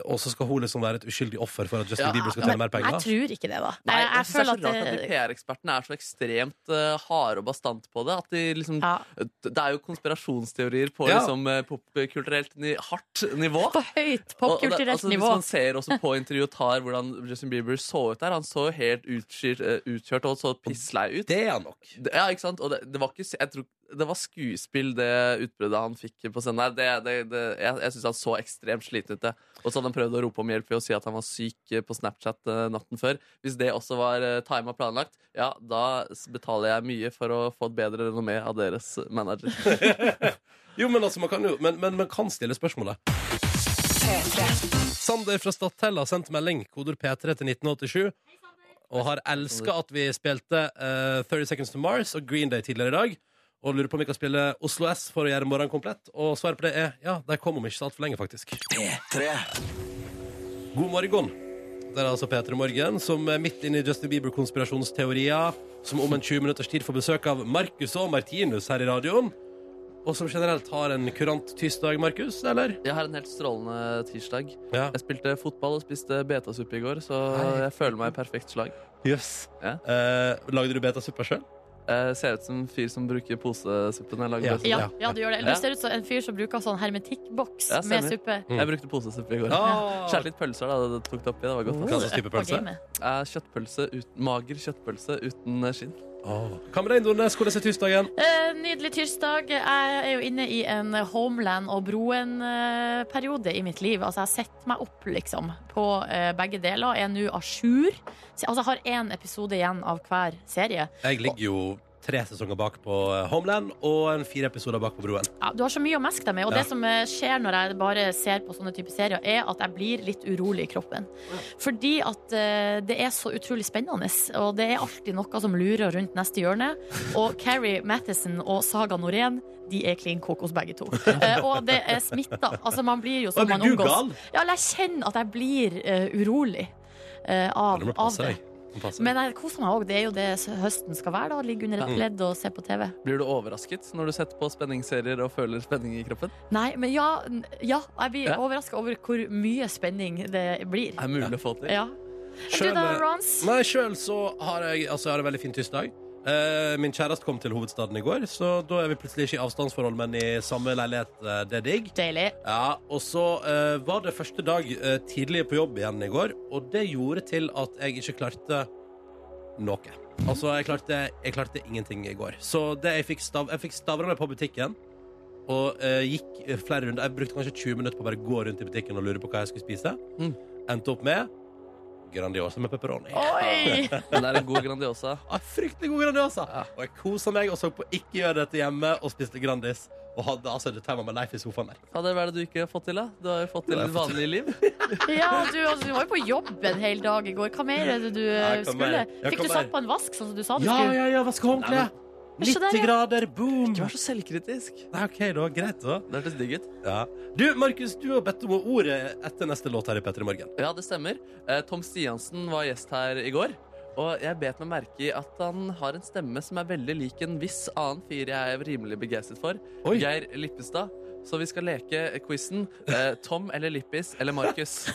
B: og så skal hun liksom være et uskyldig offer for at Justin
D: Ja,
B: Bieber skal
C: Men
B: tjene mer
C: jeg
B: penger?
C: tror ikke det, da.
D: Nei,
C: jeg, jeg
D: jeg synes
C: føler
D: det er så rart
C: at
D: at de
C: det,
D: PR-ekspertene er så ekstremt eh, harde og bastante på det. At de liksom,
C: ja.
D: Det er jo konspirasjonsteorier på
B: Ja.
D: liksom, eh, popkulturelt ni hardt nivå.
C: På
D: Og-
C: høyt
D: og det-
C: popkulturelt
D: altså,
C: nivå.
D: Hvis man ser også på intervjuet tar hvordan Justin Bieber så ut der Han så jo helt utkjørt, eh, utkjørt og så pisslei ut.
B: Det er han nok.
D: Det- Ja, ikke sant? Og det, det, var ikke, s- jeg tror, det var skuespill, det utbruddet han fikk på scenen der. Det, det, det, jeg jeg syns han så ekstremt sliten ut. det. Og så hadde han prøvd å rope om hjelp ved å si at han var syk eh, på Snapchat eh, natten før. Hvis det også var eh, time og planlagt, ja, da s- betaler jeg mye for å få et bedre renommé av deres eh, manager.
B: Jo, men altså, man kan jo Men, men man kan stille spørsmålet. Sander fra Stathelle har sendt melding, koder P3 til 1987, og har elska at vi spilte eh, 30 Seconds to Mars og Green Day tidligere i dag. Og lurer på om vi kan spille Oslo S for å gjøre morgenen komplett. Og svaret på det er ja, de kom om ikke så altfor lenge, faktisk. God morgen. Det er altså P3 Morgen som er midt inne i Justin Bieber-konspirasjonsteorier, som om en 20 minutters tid får besøk av Markus og Martinus her i radioen. Og som generelt har en kurant tirsdag, Markus, eller?
D: Jeg har en helt strålende tirsdag.
B: Ja.
D: Jeg spilte fotball og spiste betasuppe i går, så
B: Nei.
D: jeg føler meg i perfekt slag.
B: Jøss.
D: Ja.
B: Eh, lagde du betasuppa sjøl?
D: Jeg ser ut som en fyr som bruker posesuppe når jeg lager
B: Ja.
D: betasuppe.
C: Ja,
B: Ja.
C: ja, du gjør det. Eller
D: Ja.
C: du ser ut som en fyr som bruker sånn hermetikkboks
D: Ja,
C: med
D: stemmer.
C: suppe.
B: Mm.
D: Jeg brukte posesuppe i går.
B: Hva
D: Skjærte litt pølser, da. Det tok det oppi. Det var godt.
B: slags type
C: På
B: pølse?
C: gamet.
D: Eh, Kjøttpølse ut, mager kjøttpølse uten eh, skinn.
B: Åh. Hva med deg, Nordnes? Hvordan er tirsdagen?
C: Eh, Nydelig tirsdag. Jeg er jo inne i en Homeland og Broen-periode i mitt liv. Altså, jeg setter meg opp, liksom, på eh, begge deler. Er nå à jour. Så- Altså, jeg har én episode igjen av hver serie.
B: Jeg ligger jo tre sesonger bak på eh, Homeland og en fire episoder bak på Broen.
C: Ja, du har så mye å meske deg med. Og
B: Ja.
C: det som eh, skjer når jeg bare ser på sånne typer serier, er at jeg blir litt urolig i kroppen. Fordi at eh, det er så utrolig spennende, og det er alltid noe som lurer rundt neste hjørne. Og Carrie Mathisen og Saga Norén de er klin kokos begge to. Eh, og det er smitta. Altså, man blir jo som
B: Å,
C: man
B: blir du
C: omgås.
B: gal?
C: Ja, eller jeg kjenner at jeg blir eh, urolig eh, av,
B: Du må
C: av
B: passe
C: det.
B: deg. Du må passe deg.
C: Men jeg koser meg òg. Det er jo det høsten skal være. da Ligge under et
B: Ja.
C: pledd og se på TV.
D: Blir du overrasket når du setter på spenningsserier og føler spenning i kroppen?
C: Nei, men ja, n- ja jeg blir
D: Ja.
C: overrasket overraska over hvor mye spenning det blir.
D: Det er mulig å få til.
C: Ja. Du
B: Selv-
C: da, Rons?
B: Nei, sjøl så har jeg, altså, jeg har en veldig fin tirsdag. Eh, min kjæreste kom til hovedstaden i går, så da er vi plutselig ikke i avstandsforhold, men i samme leilighet. eh, det er digg.
C: Deilig.
B: Ja, og så eh, var det første dag eh, tidlig på jobb igjen i går, og det gjorde til at jeg ikke klarte noe. Altså, jeg klarte, jeg klarte ingenting i går. Så det jeg fikk, stav, jeg fikk stavra meg på butikken, og eh, gikk eh, flere runder. Jeg brukte kanskje 20 minutter på å bare gå rundt i butikken og lure på hva jeg skulle spise.
D: Mm.
B: Endte opp med Grandiosa med pepperoni.
C: Oi!
D: Men det er en god Grandiosa.
B: Ah, fryktelig god Grandiosa! Og jeg kosa meg og så på Ikke gjør dette hjemme, og spiste Grandis. Og hadde altså det time of my life i sofaen der.
D: Fader, hva er det du ikke har fått til, da? Du har jo fått til
B: Nei,
D: ditt
B: jeg har fått
D: vanlige liv.
C: Ja, du, altså, du var jo på jobb en hel dag i går. Hva mer er det du eh,
B: Ja, hva
C: skulle?
B: mer? Ja,
C: Fikk
B: hva
C: du satt
B: mer?
C: på en vask, sånn som du sa du
B: Ja,
C: skulle?
B: ja, ja, vaske håndkle!
D: Nei,
B: 90
C: der, ja.
B: grader, boom!
D: Ikke vær så selvkritisk.
B: Nei, OK, da. Greit, da.
D: Det hørtes digg ut.
B: Ja. Du, Markus, du har bedt om ordet etter neste låt her i P3 Morgen.
D: Ja, det stemmer. Eh, Tom Stiansen var gjest her i går. Og jeg bet meg merke i at han har en stemme som er veldig lik en viss annen fyr jeg er rimelig begeistret for.
B: Oi.
D: Geir Lippestad. Så vi skal leke quizen eh, Tom eller Lippis eller Markus.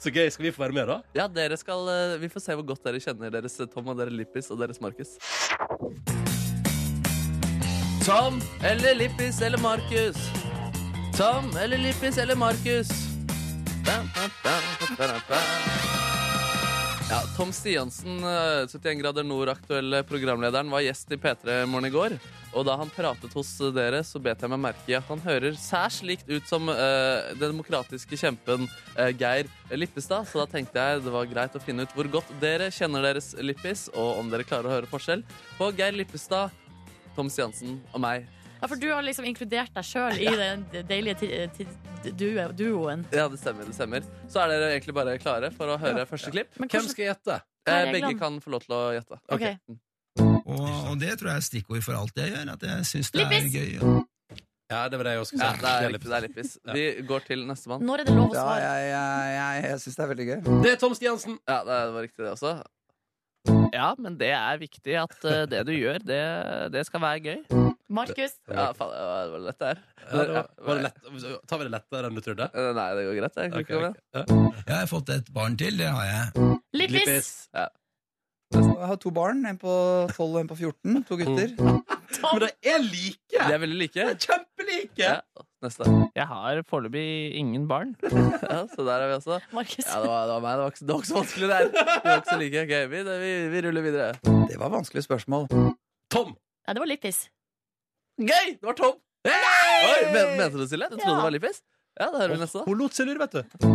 B: Så gøy. Skal vi få være med, da?
D: Ja, dere skal, eh, Vi får se hvor godt dere kjenner deres eh, Tom og dere Lippis og deres Markus. Tom eller Lippis eller Markus? Tom eller Lippis eller Markus? Da, da, da, da, da, da. Ja, Tom Stiansen, eh, 71 grader nord-aktuelle programlederen, var gjest i P3 Morgen i går. Og da han pratet hos dere, så bet jeg meg merke i at han hører særs likt ut som eh, den demokratiske kjempen eh, Geir Lippestad. Så da tenkte jeg det var greit å finne ut hvor godt dere kjenner deres Lippis, og om dere klarer å høre forskjell på Geir Lippestad, Tom Stiansen og meg.
C: Ja, for du har liksom inkludert deg sjøl i den deilige ti- ti- du- eh, duoen.
D: Ja, det stemmer. det stemmer. Så er dere egentlig bare klare for å høre første klipp.
C: Men
B: Hvem
C: hvordan
B: skal gjette?
C: Hva er
D: Eh, begge
C: reglene?
D: kan få lov til å gjette.
C: Ok.
D: Mm.
F: Og, og det tror jeg er stikkord for alt jeg gjør. At jeg syns det er
C: Lippis!
F: gøy.
B: Ja, det var det jeg også
D: Ja,
B: skulle
D: det er,
B: si. Det er Mm.
D: det er Lippis. Vi går til nestemann.
C: Når er det lov å
G: Ja,
C: svare?
G: jeg, jeg, jeg, jeg syns det er veldig gøy.
B: litt- Det er Tom Stiansen.
D: Ja, det var riktig det også.
H: Ja, men det er viktig at eh, det du gjør, det, det skal være gøy.
C: Markus?
D: Ja, faen, det var lett, det her.
B: Ja, det var, var det lett, tar vi det lettere enn du trodde?
D: Eh, Nei, det går greit. Jeg,
B: Ok,
D: okay,
B: ok. Ja.
F: Jeg har fått et barn til, det har jeg.
C: Lippis!
G: Jeg har to barn. En på 12 og en på 14. To gutter.
I: Mm.
B: Men det er like!
D: De er veldig like.
B: Kjempelike!
D: Ja, neste.
H: Jeg har foreløpig ingen barn.
D: Ja, så der er vi også.
C: Markus.
D: Ja, det var, det var meg. Det var, ikke, det var ikke så vanskelig, det her. Vi var ikke så like. Ok, vi, vi, vi ruller videre.
G: Det var vanskelige spørsmål.
B: Tom!
C: Nei, det var Lippis.
D: Gøy! Det var Tom! Oi, men, mente du Silje? Du trodde
C: Ja.
D: det var Lippis? Ja, da hører vi neste.
B: Hun lot seg lure, vet du.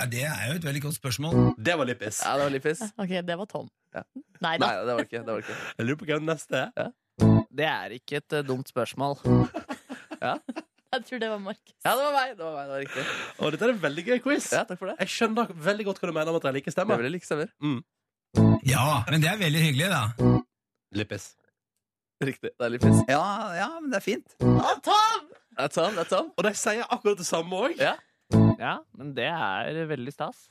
F: Ja, Det er jo et veldig godt spørsmål.
B: Det var lippis.
D: Ja, det var Lippis.
C: Ok, det var Tom.
D: Ja.
C: Nei
D: Nei,
C: da.
D: det var det ikke. Det var det ikke.
B: Jeg lurer på hvem neste er.
H: Det er ikke et eh, dumt spørsmål.
C: Jeg tror det var Markus.
D: Ja, det var meg. Det var meg, det var riktig.
B: Og dette er en veldig gøy quiz.
D: Ja, takk for det.
B: Jeg skjønner veldig godt hva du mener om at de liker
D: Det er
B: stemmer.
D: veldig like stemmer.
F: Ja, men det er veldig hyggelig, da.
B: Lippis.
D: Riktig. Det er Lippis.
G: Ja, ja, men det er fint.
C: Å, Tom!
D: Det er Tom. Det er Tom.
B: Og de sier akkurat det samme òg.
D: Ja.
H: Ja, men det er veldig stas.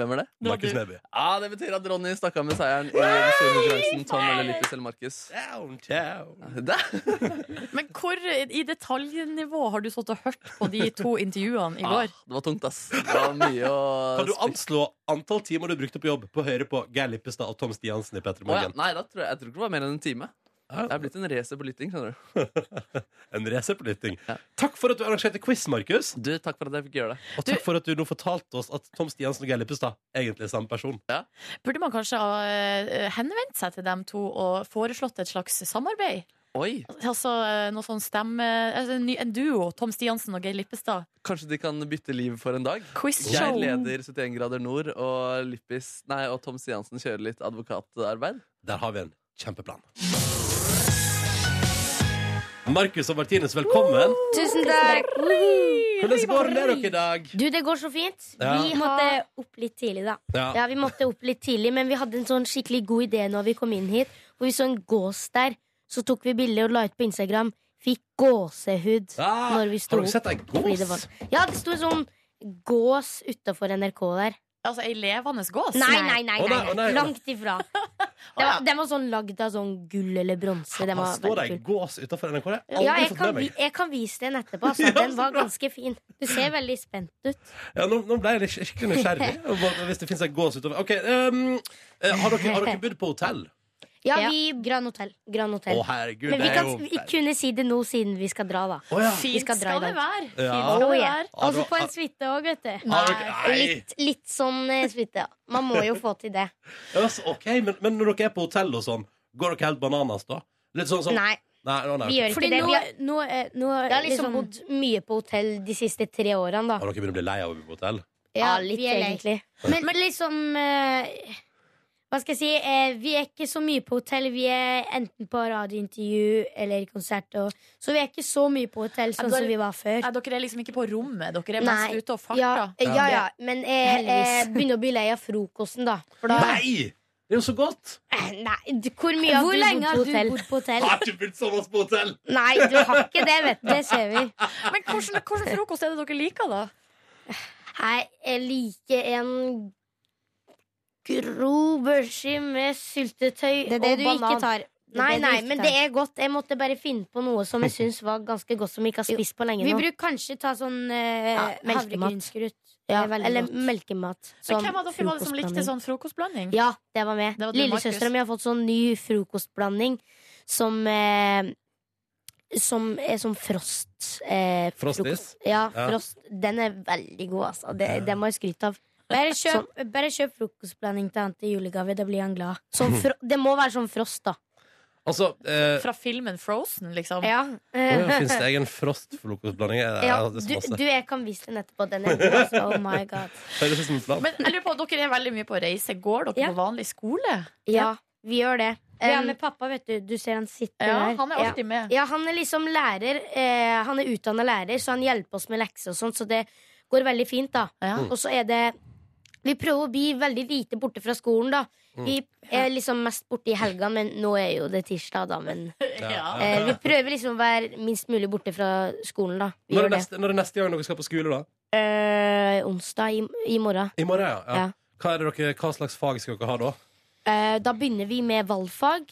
D: Hvem er det?
C: Det var
B: Markus
C: du.
B: Neby.
D: Ja, Det betyr at Ronny stakk av med seieren i den store konkurransen Tom eller Lippis eller Markus.
B: Down, down.
D: Der.
C: Men hvor i detaljnivå har du stått og hørt på de to intervjuene i
D: Ah,
C: går?
D: det var tungt, ass. Det var mye å
B: Kan du anslå antall timer du brukte på jobb på høyre på Geir Lippestad og Tom Stiansen i
D: Å,
B: P3
D: ja.
B: Morgen?
D: Nei, da tror jeg, jeg tror ikke det var mer enn en time. Jeg er blitt en racer på lytting. skjønner du
B: En racerplytting.
D: Ja.
B: Takk for at du arrangerte quiz, Markus.
D: Du, Takk for at jeg fikk gjøre det.
B: Og takk for at du nå fortalte oss at Tom Stiansen og Geir Lippestad egentlig er samme person.
C: Burde man kanskje ha eh, henvendt seg til dem to og foreslått et slags samarbeid?
D: Oi,
C: Altså eh, noe sånn stemme altså, en ny- En duo. Tom Stiansen og Geir Lippestad.
D: Kanskje de kan bytte liv for en dag? Jeg
C: Quizshow.
D: leder 71 grader nord, og Lippis Nei, og Tom Stiansen kjører litt advokatarbeid.
B: Der har vi en kjempeplan. Markus og Martinus, velkommen.
J: Tusen takk.
B: Hvordan går det med dere i dag?
J: Du, det går så fint.
B: Ja.
J: Vi måtte opp litt tidlig, da.
B: Ja.
J: Ja, vi måtte opp litt tidlig, men vi hadde en sånn skikkelig god idé når vi kom inn hit. Hvor vi så en gås der. Så tok vi bilde og la ut på Instagram. Fikk gåsehud
B: Ah,
J: når vi sto
B: Har dere
J: opp.
B: sett ei
J: fordi det
B: gås?
J: var- Ja, det sto en sånn gås utafor NRK der.
C: Altså ei levende gås?
J: Nei, nei, nei.
B: Å, nei,
J: nei,
B: å, nei.
J: Langt ifra. Den var, den var sånn lagd av sånn gull eller bronse. Den
B: Her
J: var
B: står det
J: veldig
B: ei
J: kul.
B: gås utafor NRK. Det har jeg
J: Ja,
B: aldri
J: jeg
B: fått med
J: kan, vi-
B: meg.
J: jeg kan vise den etterpå.
B: Ja,
J: Altså. Den
B: så
J: var
B: bra.
J: ganske fin. Du ser veldig spent ut.
B: Ja, nå, nå ble jeg litt skikkelig nysgjerrig. og bare- Hvis det fins ei gås utover Ok, ehm, eh, har, dere, har dere bodd på hotell?
J: Ja,
K: Ja.
J: vi Grand Hotel. Grand
B: Å,
J: Hotel.
B: herregud,
J: Men vi
B: det er
J: kan
B: jo
J: vi kunne si det nå siden vi skal dra, da.
B: Å, ja.
C: Fint skal,
J: skal dra i
C: det
J: dag.
C: være. Fint
B: Ja.
C: skal
J: Oh,
C: det
J: yeah.
C: være.
B: Har
J: Altså
B: du-
J: på en suitte òg, vet du.
B: Har dere-
C: Nei.
B: Nei!
J: Litt, litt sånn eh, suite. ja. Man må jo få til det.
B: Ja, så- ok, men, men når dere er på hotell og sånn, går dere helt bananas da? Litt sånn som
J: Nei,
B: Nei, å, nei,
J: vi
B: ok.
J: gjør ikke
K: Fordi
J: det.
K: nå,
J: Vi har,
K: nå, er- nå er
J: jeg har
K: liksom,
J: liksom bodd mye på hotell de siste tre årene,
B: Har
J: da.
B: dere begynt å bli lei av å bo på hotell?
J: Ja,
K: Ja,
J: litt,
K: vi er lei.
J: egentlig. Men, liksom eh, Hva skal jeg si? eh, Vi er ikke så mye på hotell. Vi er enten på radiointervju eller i konsert. Og, så vi er ikke så mye på hotell sånn
C: da er-
J: som vi var før.
C: Nei, dere er liksom ikke på rommet, dere er
J: Nei.
C: mest ute og
J: Ja,
C: farter.
J: ja, ja, men jeg, jeg
C: Heldigvis.
J: begynner å bli lei av frokosten, da. For da
B: Nei! Det er jo så godt!
J: Eh, Nei, du, hvor mye har
K: Hvor
J: du
K: lenge
J: bodd
K: har
J: på
K: du
J: hotell?
K: bodd
J: på hotell?
B: Har ikke blitt sånn på hotell!
J: Nei, du har ikke det, vet du. Det ser vi.
C: Men hvordan, hvordan frokost er det dere liker, da?
J: Nei, jeg liker en grov børsi med syltetøy
K: Det er det
J: og
K: du
J: banan.
K: ikke tar. Det er
J: Nei,
K: det du
J: nei,
K: ikke
J: men
K: tar.
J: det er godt. Jeg måtte bare finne på noe som jeg syns var ganske godt, som jeg ikke har spist på lenge
K: Vi
J: nå.
K: bruker kanskje ta sånn eh,
J: Ja, melkemat.
K: havregrynsgrøt.
J: Ja,
K: Det er veldig
J: eller
K: godt.
J: melkemat.
C: Men
J: sånn
C: hvem av dere var det som likte
J: frokostblanding.
C: sånn frokostblanding?
J: Ja, det var med.
C: Det var du,
J: Lillesøstera
C: Markus.
J: mi har fått sånn ny frokostblanding som eh, som er som frost. Eh,
B: Frostis?
J: frokost. Ja,
B: Ja.
J: frost. Den er veldig god, altså. Det,
B: Ja.
J: Den må jeg skryte av.
K: Bare kjøp, bare kjøp frokostblanding til han til julegave, da blir han glad.
J: Sånn fro det må være sånn frost, da.
B: Altså, eh,
C: Fra filmen Frozen, liksom?
J: Ja.
B: åja, Finnes det egen frostfrokostblanding? Jeg- jeg- det
J: Ja,
B: er
J: du,
B: så masse.
J: du, jeg kan vise den etterpå. Den er god, altså. Oh my god.
B: Høres ut som en plan.
C: Men jeg lurer på, dere er veldig mye på reise. Går dere
J: Ja.
C: på vanlig skole?
J: Ja, vi gjør det.
K: Vi er
J: Um,
K: med pappa, vet du. Du ser han sitter
C: Ja,
K: der.
C: han er alltid med.
J: Ja, han er liksom lærer. Eh, han er utdanna lærer, så han hjelper oss med lekser og sånt, så det går veldig fint, da.
C: Ja.
B: Mm.
J: Og så er det Vi prøver å bli veldig lite borte fra skolen, da.
B: Mm.
J: Vi er liksom mest borte i helga, men nå er jo det tirsdag, da. Men
C: Ja.
J: eh, vi prøver liksom å være minst mulig borte fra skolen, da. Vi
B: Når er,
J: gjør det.
B: neste, når er neste gang dere skal på skole, da?
J: Eh, onsdag i, i morgen.
B: I morgen, ja. ja.
J: Ja.
B: Hva, er det dere, hva slags fag skal dere ha da?
J: Eh, da begynner vi med valgfag.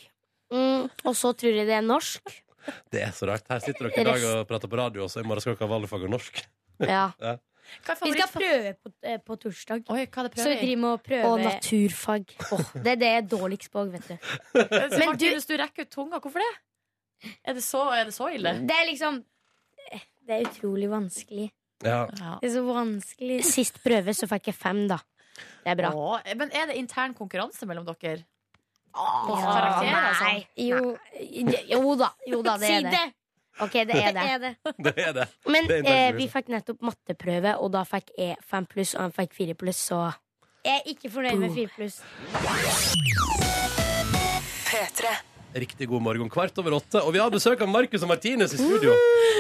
K: Mm, og så tror de det er norsk.
B: Det er så rart. Her sitter dere i dag og prater på radio, og så i morgen skal dere ha valgfag og norsk.
K: Ja.
B: Ja.
K: Vi skal prøve på, eh, på torsdag.
C: Oi, hva er det
K: Så vi
C: prøver i?
K: driver med å prøve
J: Og naturfag.
K: Det er det jeg er dårligst på, vet du.
C: Men
K: Men du-
C: Eh, Martin, hvis du rekker ut tunga, hvorfor det? Er det så, er det så ille?
J: Mm.
K: Det er liksom Det er utrolig vanskelig.
B: Ja.
C: Ja.
K: Det er så vanskelig.
J: Sist prøve så fikk jeg fem, da. Det er bra.
C: Å, eh, men er det intern konkurranse mellom dere? På
K: Ja,
C: karakterer og
B: altså.
C: sånn?
K: nei. Jo, jo da. Jo da, det
J: Si
K: er det.
J: OK, det er det.
B: Det er det.
J: Men
B: Det er
J: eh,
B: interessant.
J: vi fikk nettopp matteprøve, og da fikk jeg fem pluss, og han fikk fire pluss, så
K: Jeg er ikke fornøyd med fire pluss.
B: Riktig god morgen kvart over åtte. Og vi har besøk av Markus og Martinus i studio.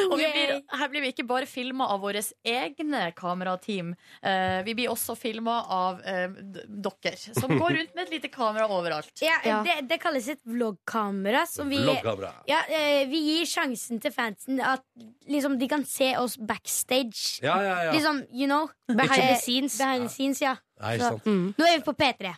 C: Og vi
K: Yay.
C: blir, her blir vi ikke bare filma av våre egne kamerateam. eh, vi blir også filma av eh, d- dere, som går rundt med et lite kamera overalt.
K: Ja,
J: Ja.
K: Det, det kalles et vloggkamera. Som vi,
B: Vloggkamera.
K: ja, eh, vi gir sjansen til fansen at liksom, de kan se oss backstage.
B: Ja, ja, ja.
K: Liksom, you know
J: Behind the
K: Eh,
J: scenes.
K: Behind the scenes, ja.
B: Nei, ikke
J: Mm.
B: sant.
K: Nå er vi på P3.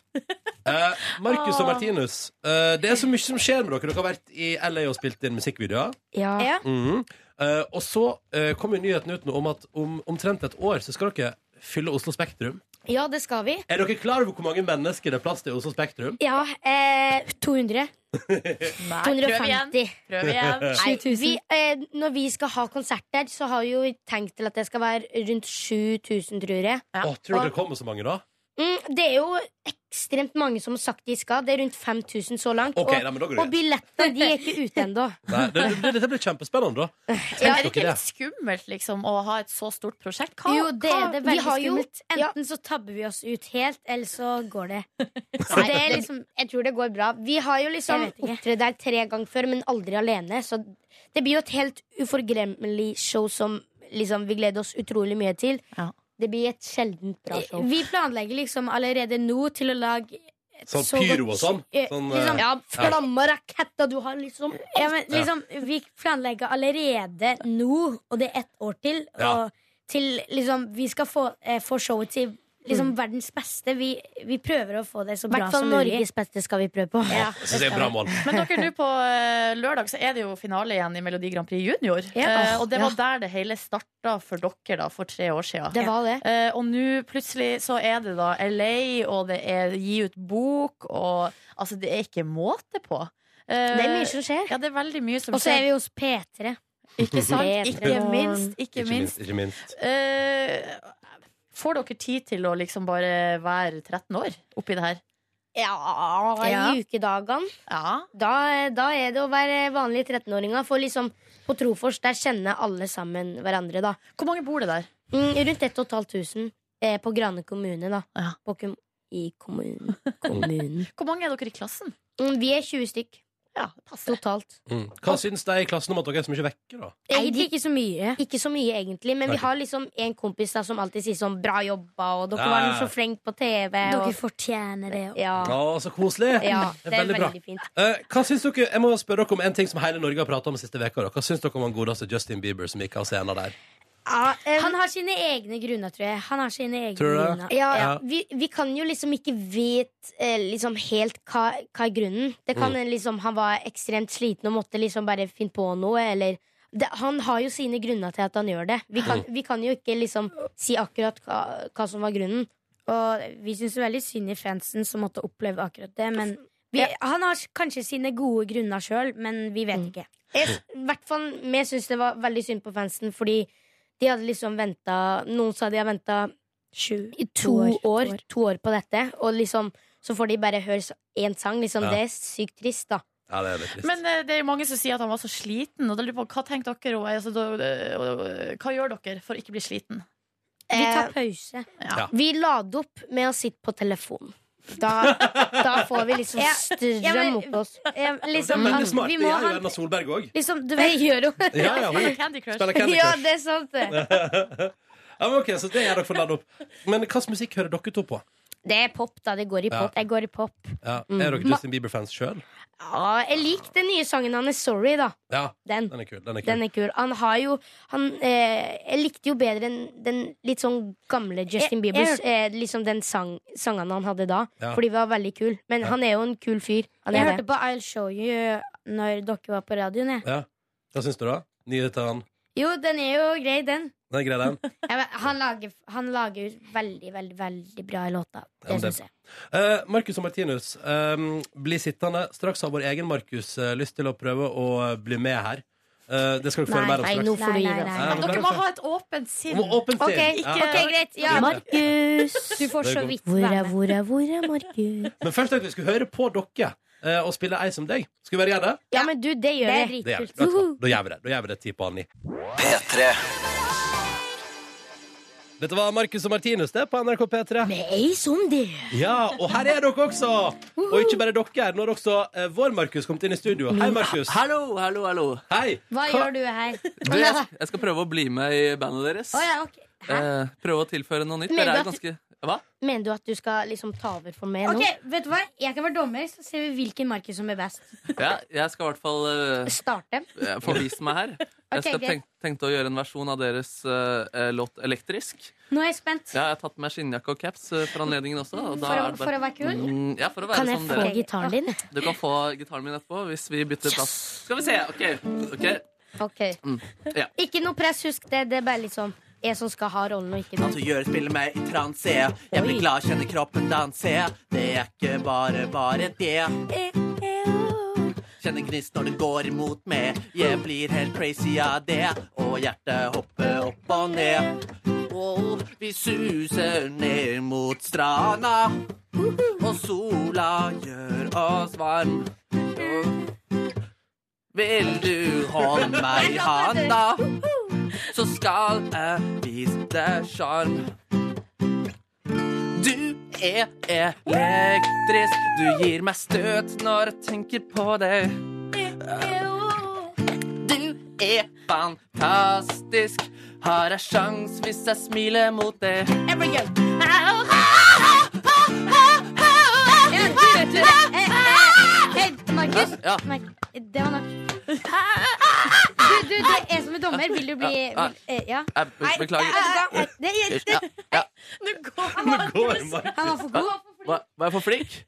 B: Eh, Markus og
C: Åh.
B: Martinus, eh, det er så mye som skjer med dere. Dere har vært i LA og spilt inn musikkvideoer.
J: ja.
K: Ja.
B: Mhm. Eh, og så eh, kom jo nyheten ut nå om at om omtrent et år så skal dere fylle Oslo Spektrum.
J: ja, det skal vi.
B: Er dere klar over hvor mange mennesker det er plass til i Oslo Spektrum?
J: Ja, eh, 200.
C: Nei, prøv igjen.
J: 250.
C: Prøv igjen.
J: Nei, vi, eh, når vi skal ha konsert der, så har vi jo tenkt til at det skal være rundt 7000, tror jeg.
C: Ja.
B: Åh, tror dere det kommer så mange da?
J: Mm, det er jo ekstremt mange som har sagt de skal. Det er rundt 5000 så langt.
B: Ok,
J: og
B: nei, men da går det
J: og
B: greit.
J: billettene de er ikke ute ennå.
B: Nei, det, det, Dette blir kjempespennende, da.
C: Men er det
B: dere
C: ikke
B: det?
C: litt skummelt liksom, å ha et så stort prosjekt? Hva,
K: Jo, det er det
J: vi
K: veldig
J: har jo-
K: skummelt.
J: ja.
K: Enten så tabber vi oss ut helt, eller så går det.
J: Så det er liksom, jeg tror det går bra. Vi har jo liksom
K: Jeg vet ikke.
J: opptrådt der tre ganger før, men aldri alene. Så det blir jo et helt uforglemmelig show som liksom, vi gleder oss utrolig mye til.
C: Ja.
J: Det blir et sjeldent bra show.
K: Eh, Vi planlegger liksom allerede nå til å lage et
B: Sånn
K: så
B: pyro
K: godt-
B: og sånn?
K: eh,
B: Sånn,
K: liksom,
B: eh,
J: Ja, flammer, raketter, du har liksom
K: ja, men, liksom, vi planlegger allerede nå, og det er ett år til. Og
B: Ja.
K: til liksom, vi skal få, eh, få showet til liksom, verdens beste. Vi, vi prøver å få det så
J: Mm. I
K: bra
J: hvert fall
K: som mulig.
J: Norges beste skal vi prøve på.
K: Ja,
B: Jeg synes det er et bra mål.
C: Men dere, nå på eh, lørdag så er det jo finale igjen i Melodi Grand Prix Junior.
J: Ja.
C: Eh, og det
J: Ja.
C: var der det hele starta for dere da, for tre år siden.
J: Det var det.
C: Eh, og nå plutselig så er det da LA, og det er gi ut bok, og altså det er ikke måte på. Eh,
J: Det er mye som skjer.
C: ja, det er veldig mye som
J: Og så er
C: skjer.
J: vi hos P3.
C: Ikke sant? Ikke
J: Peter.
C: minst. Ikke
B: Ikke minst.
C: minst.
B: Ikke minst.
C: Eh, får dere tid til å liksom bare være 13 år oppi det her?
J: Ja,
K: Ja.
J: i ukedagene.
C: Ja.
J: Da, da er det å være vanlig 13-åringa. For liksom på Trofors der kjenner alle sammen hverandre. da
C: Hvor mange bor det der?
J: mm, Rundt 1500 eh, på Grane kommune. da
C: Ja.
J: på kom I kommunen. kommunen.
C: Hvor mange er dere i klassen?
J: Mm, vi er 20 stykk
C: Ja, passer.
J: totalt.
B: Mm. Hva syns de i klassen om at dere er så mye vekke, da?
J: Egentlig
K: Egentlig ikke så mye.
J: Ikke så mye, egentlig, men vi har liksom en kompis da som alltid sier sånn 'bra jobba', og 'dere
B: Ja,
J: var
B: ja,
J: nå
B: ja.
J: så flink på TV'.
K: Dere
J: Og,
K: fortjener det.
J: ja,
B: Å, så koselig!
J: ja,
B: det er veldig bra.
J: fint.
B: Eh, hva syns dere, Jeg må spørre dere om en ting som hele Norge har prata om siste veka, da. Hva syns dere om han godeste Justin Bieber som gikk av scenen der?
J: Ja, eh,
K: Han har sine egne grunner, tror jeg. Han har sine egne
B: Tror du det?
K: grunner.
J: Ja,
B: Ja.
J: Vi, vi kan jo liksom ikke vite eh, liksom helt hva, hva er grunnen. Det
B: Mm.
J: kan eh, liksom Han var ekstremt sliten og måtte liksom bare finne på noe, eller det, Han har jo sine grunner til at han gjør det. Vi kan,
B: Mm.
J: vi kan jo ikke liksom si akkurat hva, hva som var grunnen.
K: Og vi syns veldig synd i fansen som måtte oppleve akkurat det. Men vi, han har kanskje sine gode grunner sjøl, men vi vet ikke.
J: Jeg, I hvert fall vi syns det var veldig synd på fansen, fordi de hadde liksom venta Noen sa de har venta i to år, to år, på dette, og liksom så får de bare høre én sang. Liksom,
B: Ja.
J: Det er sykt trist, da.
B: Ja, det er litt trist.
C: Men eh, det er jo mange som sier at han var så sliten. Og da lurer jeg på, hva tenker dere om, altså, da, eh, Hva gjør dere for å ikke bli sliten?
K: Vi
J: Eh,
K: tar pause.
J: Vi lade opp med å sitte på telefonen. Da, da får vi liksom
K: Ja,
J: strøm
K: ja, men-
J: opp oss.
K: Eh,
B: det er
K: Liksom,
B: veldig
K: at
B: smart.
K: vi
B: det
K: må
B: gjør jo
K: ha
B: Erna Solberg òg.
K: liksom, du
J: Det
K: vet,
J: gjør hun.
B: Ja, ja, hun
C: Spiller Candy Crush.
B: spiller Candy
J: Ja,
B: Crush.
J: det er sant, det.
B: Ja, men ok, så det er dere for å lade opp. Men hva slags musikk hører dere to på?
J: Det er pop, da. Det går i
B: Ja.
J: pop. Jeg går i pop.
B: Ja.
J: Mm.
B: Er dere Justin Bieber-fans sjøl?
J: Ja, jeg liker den nye sangen hans, 'Sorry', da.
B: Ja.
J: Den.
B: Den er kul. Den er kul.
J: Den er kul. Han har jo han, eh, Jeg likte jo bedre enn den litt sånn gamle Justin
K: Jeg-
J: Bieber.
K: jeg-
J: Eh, liksom den sang, sangene han hadde da.
B: Ja.
J: For de var veldig kule. Men
B: Ja.
J: han er jo en kul fyr. Han
K: Jeg
J: er
K: hørte
J: det.
K: på I'll Show You eh, når dere var på radioen. Jeg.
B: Ja. Hva syns du, da? Nye til han?
K: Jo, den er jo grei, den.
B: Den er grei, den.
K: Jeg, vet- han, lager, han lager veldig, veldig veldig bra låter.
B: Ja,
K: Det
B: men det-
K: syns jeg.
B: Eh, Markus og Martinus, ehm, bli sittende. Straks har vår egen Markus eh, lyst til å prøve å eh, bli med her. Eh, det skal dere få høre
J: Nei,
B: mer om
J: nei,
B: straks.
J: nå får du gi deg.
B: Nei, men
C: Dere
B: bare
C: må
B: se.
C: ha et åpent sinn.
B: Må åpent sinn.
J: Ok,
B: Ja.
K: Ok, greit. Ja.
J: Markus!
K: Du får
B: Det
K: så
B: går.
K: vidt
J: Hvor
K: være
J: er,
K: med.
J: hvor er, hvor er Markus?
B: Men først tenkte vi skulle høre på dere eh, og spille Ei som deg. Skal vi bare gjøre det?
J: Ja, men du, det gjør
K: Det er
B: Det
J: jeg.
B: gjør vi.
K: dritkult.
B: Vet du hva? Da gjør vi det. Da gjør vi det ti på halv ni. Dette var Markus og Martinus det på NRK P3.
J: Med ei som det.
B: Ja, Og her er dere også! Og ikke bare dere. Nå har også eh, vår Markus kommet inn i studio. Hei, Markus.
D: Hallo, hallo, hallo.
B: Hei!
K: Hva gjør du her?
D: Du, jeg, sk- jeg skal prøve å bli med i bandet deres.
K: Å ja, ok. Hæ?
D: Eh, prøve å tilføre noe nytt.
J: Men
D: Dere er
J: du
D: jo ganske Hva?
J: Mener du at du skal liksom ta over for meg nå?
K: Ok, vet du hva? Jeg kan være dommer, så ser vi hvilken Markus som er best.
D: Ja, jeg skal i hvert fall eh,
J: Starte?
D: Jeg får vist meg her. Jeg
K: Ok,
D: skal
K: greit.
D: tenk, tenkte å gjøre en versjon av deres eh, eh, låt 'Elektrisk'.
K: Nå er jeg spent.
D: Ja, jeg har tatt med skinnjakke og caps eh, for anledningen også. Og
K: For å,
D: da er det bare-
K: for å være kul.
D: Mm, ja, for å være
J: Kan jeg
D: som
J: få
D: dere.
J: gitaren din?
D: Du kan få gitaren min etterpå hvis vi bytter plass. Skal vi se. OK. ok.
J: Ok.
D: Mm. Ja.
J: Ikke noe press, husk det. Det er bare litt sånn jeg som skal ha rollen, og ikke
D: Kan
J: noe.
D: du gjøre spillet meg i transe? Jeg
J: Oi.
D: blir glad, kjenner kroppen danse. Det er ikke bare bare det.
J: Eh,
D: Kjenner gnist når det går imot meg. Jeg blir helt crazy av det. Og hjertet hopper opp og ned. Og vi suser ned mot stranda. Og sola gjør oss varm. Vil du holde meg i handa? så skal jeg vise deg sjarm. Du er elektrisk, du gir meg støt når jeg tenker på deg.
J: eh, oh.
D: Du er fantastisk, har jeg sjans hvis jeg smiler mot deg?
K: Ja, du, du, eh, eh, Hei, Markus.
D: Ja.
K: Mark, det var nok. Du, du, det er som en dommer. Vil du bli
D: Ja, ja.
K: vil, eh, Ja.
D: Jeg be- beklager.
K: Nei, Det gikk
D: Ja, ja.
B: Nå går Markus.
K: Han var for god.
D: Var var jeg for flink?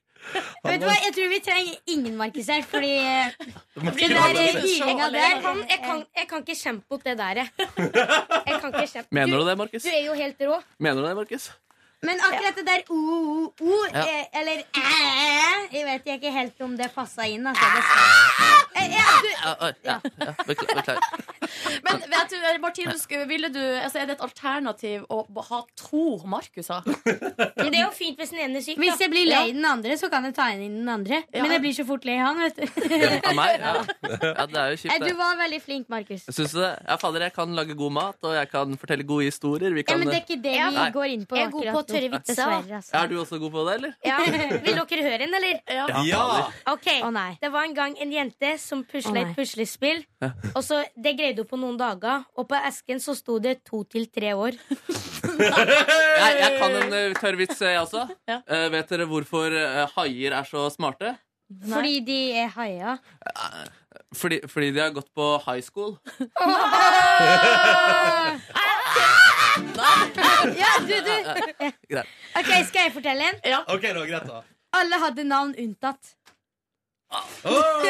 K: Vet du hva, Jeg tror vi trenger ingen Markus her, fordi eh, det
B: Martinus,
K: der
B: Martinus.
K: hylinga
J: Jeg
K: der
J: kan, jeg, kan, jeg kan ikke kjempe mot det der. jeg. Jeg kan ikke kjempe
D: Mener du det, Markus?
J: Du er jo helt rå.
D: Mener du det, Markus?
K: Men akkurat det der o-o-o,
D: Ja.
K: eh, eller æ Jeg vet ikke helt om det passa inn. Altså, det Eh, ja, du,
D: Ah! Ja, ja, ja, bekla- beklager.
C: Men vet du, Martinus, ville du, altså, er det et alternativ å b- ha to Markuser?
J: Men det er jo fint hvis den ene er syk.
K: hvis
J: Da.
K: jeg blir lei den andre, så kan jeg ta inn den andre.
C: Ja.
K: Men jeg blir så fort lei han. vet du
D: Av meg? Ja. ja, det er jo
K: Nei,
D: kjipt,
K: Du
D: det.
K: var veldig flink, Markus.
D: Syns du det? Ja, fader, jeg kan lage god mat, og jeg kan fortelle gode historier. Vi
K: Ja,
D: kan,
K: men det er ikke det vi
D: Nei.
K: går inn på.
J: Jeg er god på
K: akkurat nå.
J: tørre vitser,
K: Dessverre, altså.
D: Er du også god på det, eller?
J: Ja. Vil dere høre en, eller?
B: Ja!
J: Ok,
K: Å nei.
J: Det var en gang en jente som
K: Å,
J: pusla
K: nei.
J: et puslespill. Og så, Det greide hun på noen dager, og på esken så sto det to til tre år.
D: Jeg, jeg kan en eh, tørr vits, eh, jeg også.
C: Ja.
D: Eh, vet dere hvorfor eh, haier er så smarte?
K: Fordi de er haia.
D: Fordi, fordi de har gått på high school.
K: Ja, du, du.
D: Greit.
K: Ok, Skal jeg fortelle en?
B: OK, det var greit, da.
K: Alle hadde navn unntatt.
B: Oh!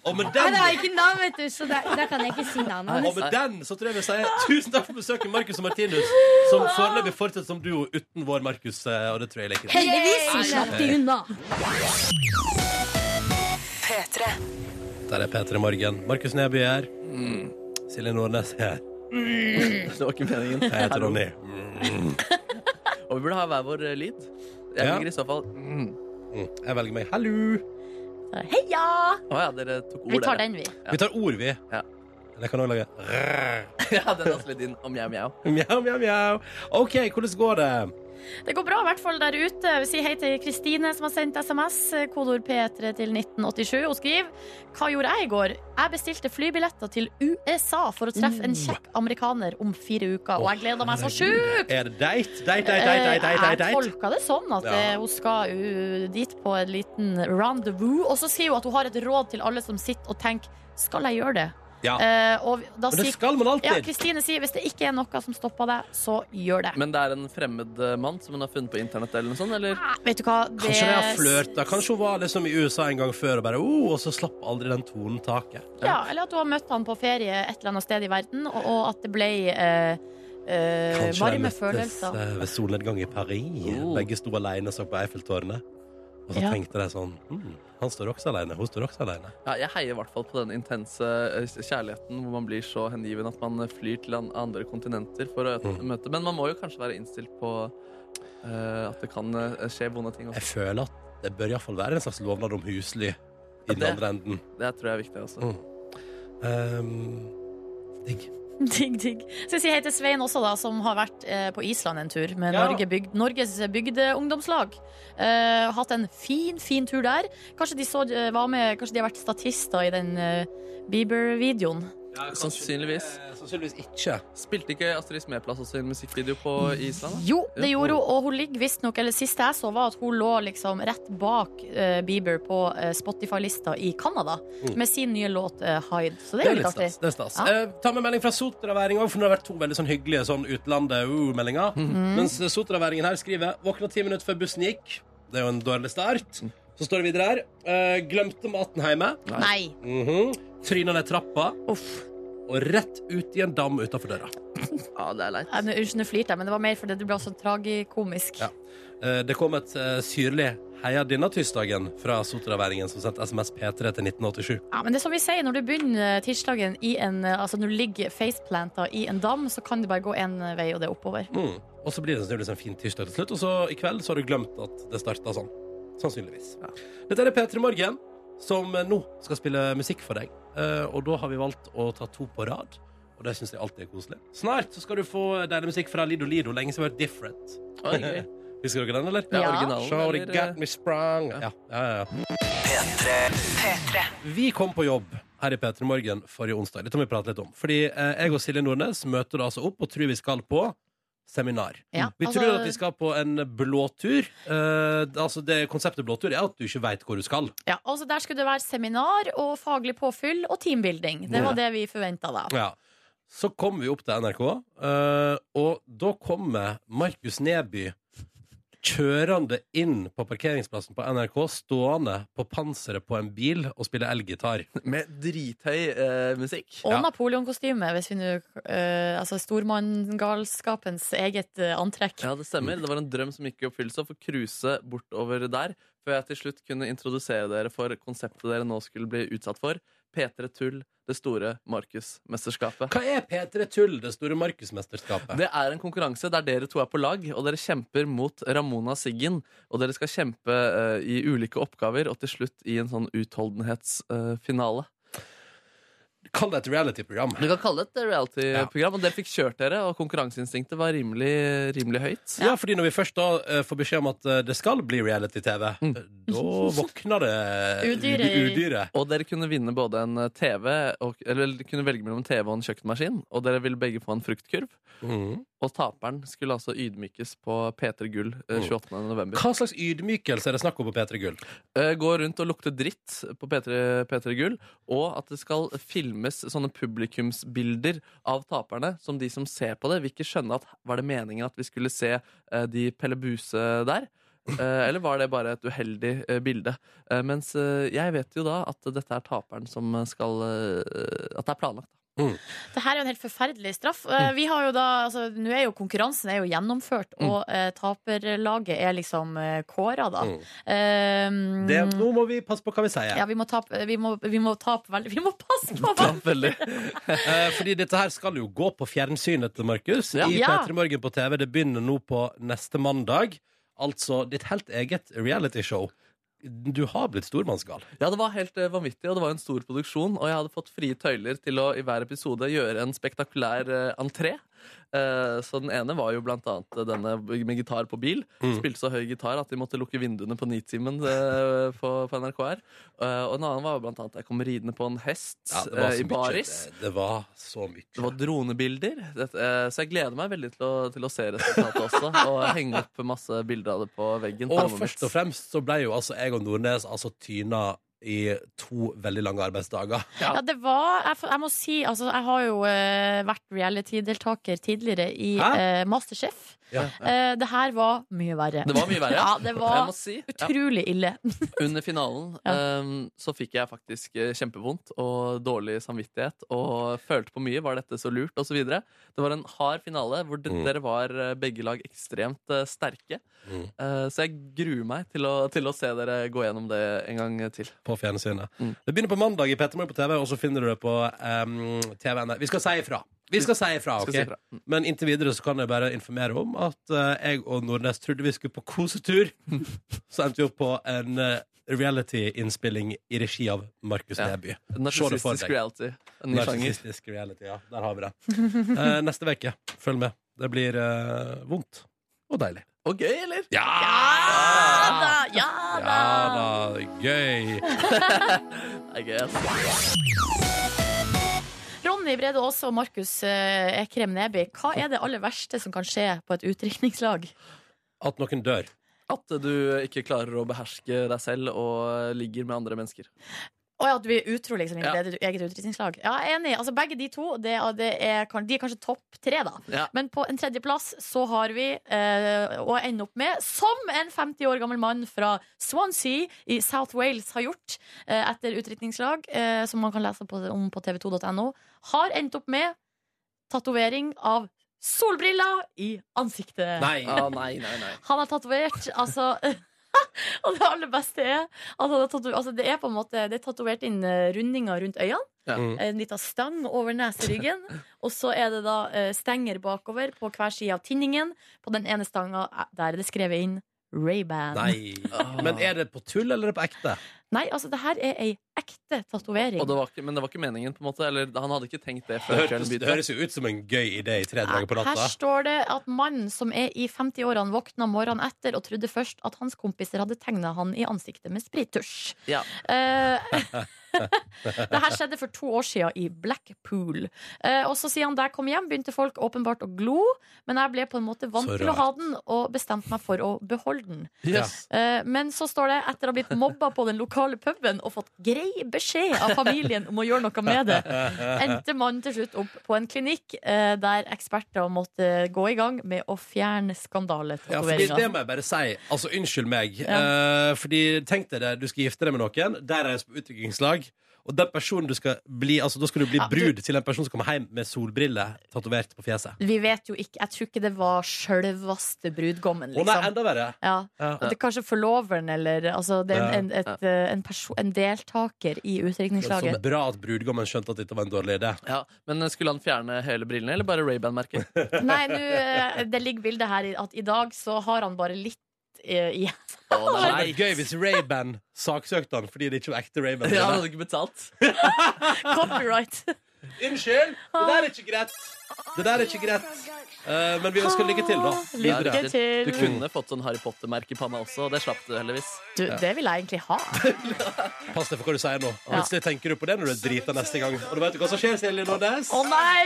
B: Og med
K: Men
B: den,
K: jeg har ikke navn, vet du, så da, da kan jeg ikke si navnet.
B: og med den så tror jeg vi sier tusen takk for besøket, Markus og Martinus, som foreløpig fortsetter som duo uten vår Markus. eh, Og det tror jeg leker.
K: Heldigvis så slapp de unna.
B: Der er P3 Morgen. Markus Neby er her.
D: Mm.
B: Silje Nordnes er her.
D: Det var ikke meningen.
B: Jeg heter Ronny.
D: Og vi burde ha hver vår eh, lyd. Jeg
B: Ja.
D: ligger i så fall mm.
B: Mm. Jeg velger meg. Hallo!
C: Heia!
D: Å ja, dere tok ord,
C: Vi tar
D: dere.
C: den, vi.
B: Vi tar ord, vi.
D: Ja.
B: Men jeg kan òg lage
D: ja, den er også litt inn om mjau, mjau.
B: mjau, mjau, mjau. OK, hvordan går det?
C: Det går bra i hvert fall der ute. Jeg vil si hei til Kristine som har sendt SMS, kodord P3 til 1987, og skriver Hva gjorde jeg i går? Jeg bestilte flybilletter til USA for å treffe
B: Mm.
C: en kjekk amerikaner om fire uker, og jeg gleder meg så sjukt! Eh,
B: Er det date? Date, date, date, date, date,
C: Jeg
B: date, date?
C: tolka det sånn at eh, hun skal uh, dit på en liten rendezvous. Og så sier hun at hun har et råd til alle som sitter og tenker Skal jeg gjøre det?
B: Ja.
C: Eh, og da
B: Men det
C: sier-
B: skal man alltid.
C: Ja, Kristine sier hvis det ikke er noe som stopper deg, så gjør det.
D: Men det er en fremmed eh, mann som hun har funnet på internett eller noe sånt, eller?
C: Vet du hva? Det-
B: Kanskje de har flørta? Kanskje hun var liksom i USA en gang før og bare oh, Og så slapp aldri den tonen taket.
C: Ja, eller at du har møtt han på ferie et eller annet sted i verden, og, og at det ble eh, eh,
B: Kanskje de
C: varme
B: møttes,
C: følelser.
B: eh, ved solnedgang i Paris.
D: Oh.
B: Begge sto alene og så på Eiffeltårnet. Og så
C: Ja.
B: tenkte de sånn hm, Han står også alene, hun står også alene.
D: Ja, jeg heier i hvert fall på den intense eh, kjærligheten hvor man blir så hengiven at man eh, flyr til an- andre kontinenter for å
B: Mm.
D: møte Men man må jo kanskje være innstilt på eh, at det kan eh, skje vonde ting også.
B: Jeg føler at det bør iallfall være en slags lovnad om husly i den
D: Det-
B: andre enden.
D: Det tror jeg er viktig altså. også.
B: Mm. Um, digg.
C: Digg, digg. Så jeg sier hei til Svein også, da, som har vært eh, på Island en tur med
B: Ja.
C: Norge bygd, Norges bygdeungdomslag. Eh, hatt en fin, fin tur der. Kanskje de, så, eh, var med, kanskje de har vært statister i den eh, Bieber-videoen.
D: Sannsynligvis.
B: Eh, Sannsynligvis ikke.
D: Spilte ikke Astrid Smeplass også i en musikkvideo på Island? da?
C: Jo, det gjorde hun, og hun ligger visstnok Eller siste jeg så, var at hun lå liksom rett bak eh, Bieber på eh, Spotify-lista i Canada
B: Mm.
C: med sin nye låt eh, Hide. Så det er jo litt artig.
B: stas. Det er stas.
C: Ja.
B: Eh, ta med melding fra Sotraværing òg, for det har vært to veldig sånn hyggelige sånn utlandet-meldinger.
C: Mhm.
B: Mens eh, Sotraværingen her skriver Våkna ti minutter før bussen gikk. Det er jo en dårlig start.
C: Mhm.
B: Så står det videre her. Eh, glemte maten hjemme.
C: Nei.
B: Mhm. Tryna ned trappa
C: Uff.
B: og rett ut i en dam utafor døra.
D: Ja, det er leit.
C: Nei, nå- Unnskyld, nå flirte jeg, men det var mer fordi det ble sånn tragikomisk.
B: Ja. Eh, det kom et eh, syrlig 'Heia denne tirsdagen' fra Sotraværingen, som sendte SMS P3 til 1987.
C: Ja, men det er som vi sier, når du begynner eh, tirsdagen i en Altså når du ligger faceplanta i en dam, så kan det bare gå én vei, og det er oppover.
B: Mm. Og så blir det sannsynligvis en fin tirsdag til slutt, og så i kveld så har du glemt at det starta sånn. Sannsynligvis. Dette er P3 Morgen, som nå skal spille musikk for deg. Eh, og da har vi valgt å ta to på rad, og det syns jeg alltid er koselig. Snart så skal du få deilig musikk fra Lido Lido, lenge siden vi har hørt Different.
D: Oi, gøy.
B: Husker dere den, eller?
D: Det er
C: Ja.
D: originalen.
B: Shawty
D: eller, eh,
B: got me sprung. Ja. Ja, ja, ja. Vi kom på jobb her i P3 Morgen forrige onsdag. Dette må vi prate litt om. Fordi eh, jeg og Silje Nordnes møter da altså opp og tror vi skal på seminar.
C: Ja,
B: Vi
C: altså-
B: tror at vi skal på en blåtur. Eh, altså det Konseptet blåtur er at du ikke veit hvor du skal.
C: Ja, altså Der skulle det være seminar og faglig påfyll og teambuilding. Det var det vi forventa da.
B: Ja. Så kom vi opp til NRK, eh, og da kommer Markus Neby kjørende inn på parkeringsplassen på NRK, stående på panseret på en bil og spille elgitar.
D: Med drithøy eh, musikk.
C: Og
B: Ja.
C: Napoleon-kostyme, hvis vi nå eh, Altså stormanngalskapens eget eh, antrekk.
D: Ja, det stemmer. Det var en drøm som gikk i oppfyllelse å få cruise bortover der, før jeg til slutt kunne introdusere dere for konseptet dere nå skulle bli utsatt for. P3 Tull, det store Markus-mesterskapet.
B: Hva er P3 Tull, det store Markusmesterskapet?
D: Det er en konkurranse der dere to er på lag, og dere kjemper mot Ramona Siggen. Og dere skal kjempe eh, i ulike oppgaver, og til slutt i en sånn utholdenhetsfinale.
B: Kall det et reality-program.
D: du kan kalle det et reality-program, og dere fikk kjørt dere, og konkurranseinstinktet var rimelig, rimelig høyt.
B: Ja. fordi når vi først da eh, får beskjed om at eh, det skal bli reality-TV, eh, da våkner det
C: Udyret
B: udy-
C: i-
B: udyret.
D: Og dere kunne vinne både en TV og, Eller dere kunne velge mellom en TV og en kjøkkenmaskin. Og dere ville begge få en fruktkurv.
B: Mhm.
D: Og taperen skulle altså ydmykes på P3 Gull eh, 28. november.
B: Hva slags ydmykelse er det snakk om på P3 Gull?
D: Eh, Gå rundt og lukte dritt på P3, P3 Gull. Og at det skal filmes sånne publikumsbilder av taperne som de som ser på det, vil ikke skjønne at var det meningen at vi skulle se eh, de Pelle Buse der? Eh, Eller var det bare et uheldig eh, bilde? Eh, Mens eh, jeg vet jo da at dette er taperen som skal eh, At det er planlagt.
C: Det her er jo en helt forferdelig straff. Eh, Vi har jo da, altså, nå er jo Konkurransen er jo gjennomført,
D: Mm.
C: og eh, taperlaget er liksom uh, kåra, da.
B: Mm.
C: Eh,
B: Det, nå må vi passe på hva vi sier.
C: ja, vi må tape Vi må, vi må tape veldig Vi må passe på hva
D: Ja, veldig.
B: Eh, fordi dette her skal jo gå på fjernsynet til Markus
D: Ja.
B: i
C: Ja.
B: P3 Morgen på TV. Det begynner nå på neste mandag. Altså ditt helt eget realityshow. Du har blitt stormannsgal.
D: Ja, det var helt eh, vanvittig, og det var en stor produksjon. Og jeg hadde fått frie tøyler til å i hver episode gjøre en spektakulær eh, entré. Eh, Så den ene var jo blant annet denne med gitar på bil.
B: Mm.
D: Spilte så høy gitar at de måtte lukke vinduene på Nitimen eh, på, på NRK her. Eh, Og en annen var jo blant annet jeg kom ridende på en hest
B: Ja, det var
D: eh,
B: så
D: i
B: mye.
D: baris.
B: Det, det var så mye.
D: Det var dronebilder. Dette, eh, så jeg gleder meg veldig til å, til å se resultatet også. Og henge opp masse bilder av det på veggen. på
B: Og
D: rommet mitt.
B: først og fremst så ble jo altså jeg og Nordnes altså tyna i to veldig lange arbeidsdager.
C: Ja, det var Jeg, jeg må si, altså, jeg har jo eh, vært reality-deltaker tidligere i
B: Hæ?
C: eh, Masterchef.
B: Ja.
C: Eh, det her var mye verre.
D: Det var mye verre,
C: ja. Det
D: Jeg
C: var
D: må si, ja.
C: utrolig ille.
D: Under finalen ehm, så fikk jeg faktisk eh, kjempevondt og dårlig samvittighet og følte på mye. Var dette så lurt? Og så videre. Det var en hard finale hvor de,
B: Mm.
D: dere var eh, begge lag ekstremt eh, sterke.
B: Mm.
D: Eh, så jeg gruer meg til å, til å se dere gå gjennom det en gang til.
B: på fjernsynet.
D: Mm.
B: Det begynner på mandag i Petermorgen på TV, og så finner du det på um, TVN. Vi skal si ifra. Vi skal si ifra,
D: Skal
B: ok?
D: si ifra. Mm.
B: Men inntil videre så kan jeg bare informere om at eh, jeg og Nordnes trodde vi skulle på kosetur. så endte vi opp på en eh, reality-innspilling i regi av Markus
D: Ja.
B: Neby. Se det for deg.
D: Narsissistisk reality. En ny sjanger.
B: Narsissistisk reality, ja. Der har vi det. Eh, neste uke, følg med. Det blir eh, vondt og deilig.
D: Og gøy, eller?
B: Ja!
C: Ja da! Ja da!
B: Ja da, gøy.
D: Det er gøy, altså.
C: Ronny Brede Aase og Markus eh, Ekrem Neby, hva er det aller verste som kan skje på et utdrikningslag?
B: At noen dør.
D: At du ikke klarer å beherske deg selv og ligger med andre mennesker.
C: Å ja, at du er utro liksom, i
D: Ja.
C: ditt eget utdrikningslag. Ja, jeg er enig. Altså, begge de to det, er- det er, kan- de er kanskje topp tre, da.
D: Ja.
C: Men på en tredjeplass så har vi, eh, og ender opp med, som en 50 år gammel mann fra Swansea i South Wales har gjort eh, etter utdrikningslag, eh, som man kan lese på, om på tv2.no, har endt opp med tatovering av solbriller i ansiktet.
B: Nei.
D: Ah, nei, nei, nei.
C: Han har tatovert, altså Og det aller beste er at han har tatover, altså, Det er på en måte Det er tatovert inn eh, rundinger rundt øynene.
D: Ja.
B: Mm.
C: En liten stang over neseryggen. og så er det da eh, stenger bakover på hver side av tinningen. På den ene stanga eh, der er det skrevet inn Ray-Ban.
B: Nei. Men er det på tull, eller er det på ekte?
C: Nei, altså, det her er ei ekte tatovering.
D: Og det var ikke, men det var ikke meningen, på en måte? Eller han hadde ikke tenkt det
B: Det
D: før
B: høres,
D: kvelden
B: det
D: begynte?
B: høres jo ut som en gøy idé i tre dager på
C: Her
B: natta.
C: står det at mannen som er i 50-årene, våkna morgenen etter og trodde først at hans kompiser hadde tegna han i ansiktet med sprittusj.
D: Ja.
C: Eh, det her skjedde for to år siden i Blackpool. Eh, og så sier han da jeg kom hjem, begynte folk åpenbart å glo, men jeg ble på en måte vant
B: Så
C: til å
B: rart.
C: ha den og bestemte meg for å beholde den.
B: Yes.
C: Eh, men så står det etter å ha blitt mobba på den lokale puben og fått grei beskjed av familien om å gjøre noe med det, endte mannen til slutt opp på en klinikk eh, der eksperter måtte gå i gang med å fjerne
B: Ja, fordi det
C: skandaletatoveringer.
B: må jeg bare si. Altså, unnskyld meg.
C: Ja.
B: Eh, fordi tenk deg det, du skal gifte deg med noen. Der er jeg på utdrikningslag. Og den personen du skal bli Altså, da skal du bli
C: Ja, du-
B: brud til en person som kommer hjem med solbriller tatovert på fjeset.
C: Vi vet jo ikke, Jeg tror ikke det var sjølveste brudgommen,
B: Å nei,
C: liksom.
B: enda verre!
C: Ja.
B: Ja.
C: Det er kanskje forloveren eller altså, det er en, en, et, eh, en, perso- en deltaker i
B: Men Så
C: utdrikningslaget.
B: bra at brudgommen skjønte at dette var en dårlig idé.
D: Ja, Men eh, skulle han fjerne hele brillene, eller bare Ray-Ban-merket?
C: Nei, nå, eh, det ligger bildet her i- at i dag så har han bare litt eh, igjen.
D: Å,
B: Det hadde
D: nei.
B: vært gøy hvis Ray-Ban saksøkte han fordi det ikke var ekte Ray-Ban.
D: Ja, han hadde ikke betalt.
C: Copyright.
B: Unnskyld! Det der er ikke greit. Det der er ikke greit. Eh, men vi ønsker lykke til, da.
D: Ah,
C: Lykke
B: Videre.
C: til.
D: Du kunne fått sånn Harry Potter-merke i panna også, og det slapp du heldigvis.
C: Du, det vil jeg egentlig ha.
B: Pass deg for hva du sier nå.
C: Ja.
B: Plutselig tenker du på det når du er drita neste gang. Og du vet du hva som skjer, Silje Nordnes?
C: Å nei!